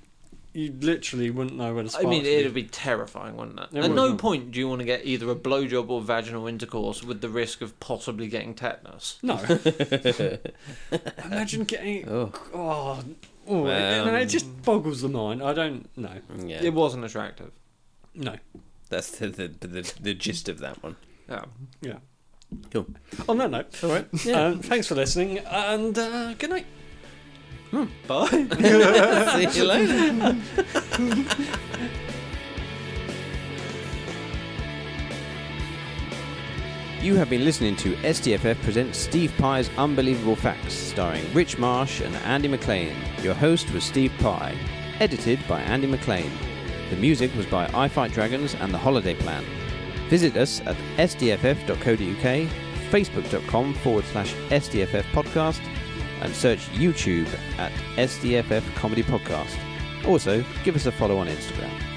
you literally wouldn't know where to
I
spot.
mean, it'd be terrifying, wouldn't it?
It
At
would,
no
yeah.
point do you want to get either a blowjob or vaginal intercourse with the risk of possibly getting tetanus.
no.
*laughs*
imagine getting
Oh.
oh. Oh, it,
Um.
no, it just boggles the mind. I don't know.
Yeah.
It wasn't attractive.
No.
That's the the, the the gist of that one.
Yeah.
Yeah.
Cool.
On that note, all right. Um, thanks for listening, and uh, good night.
Bye.
See you later. You have been listening to SDFF presents Steve Pye's Unbelievable Facts, starring Rich Marsh and Andy McLean. Your host was Steve Pye, edited by Andy McLean. The music was by I Fight Dragons and The Holiday Plan. Visit us at sdff.co.uk, facebook.com forward slash SDFF podcast, and search YouTube at SDFF Comedy Podcast. Also, give us a follow on Instagram.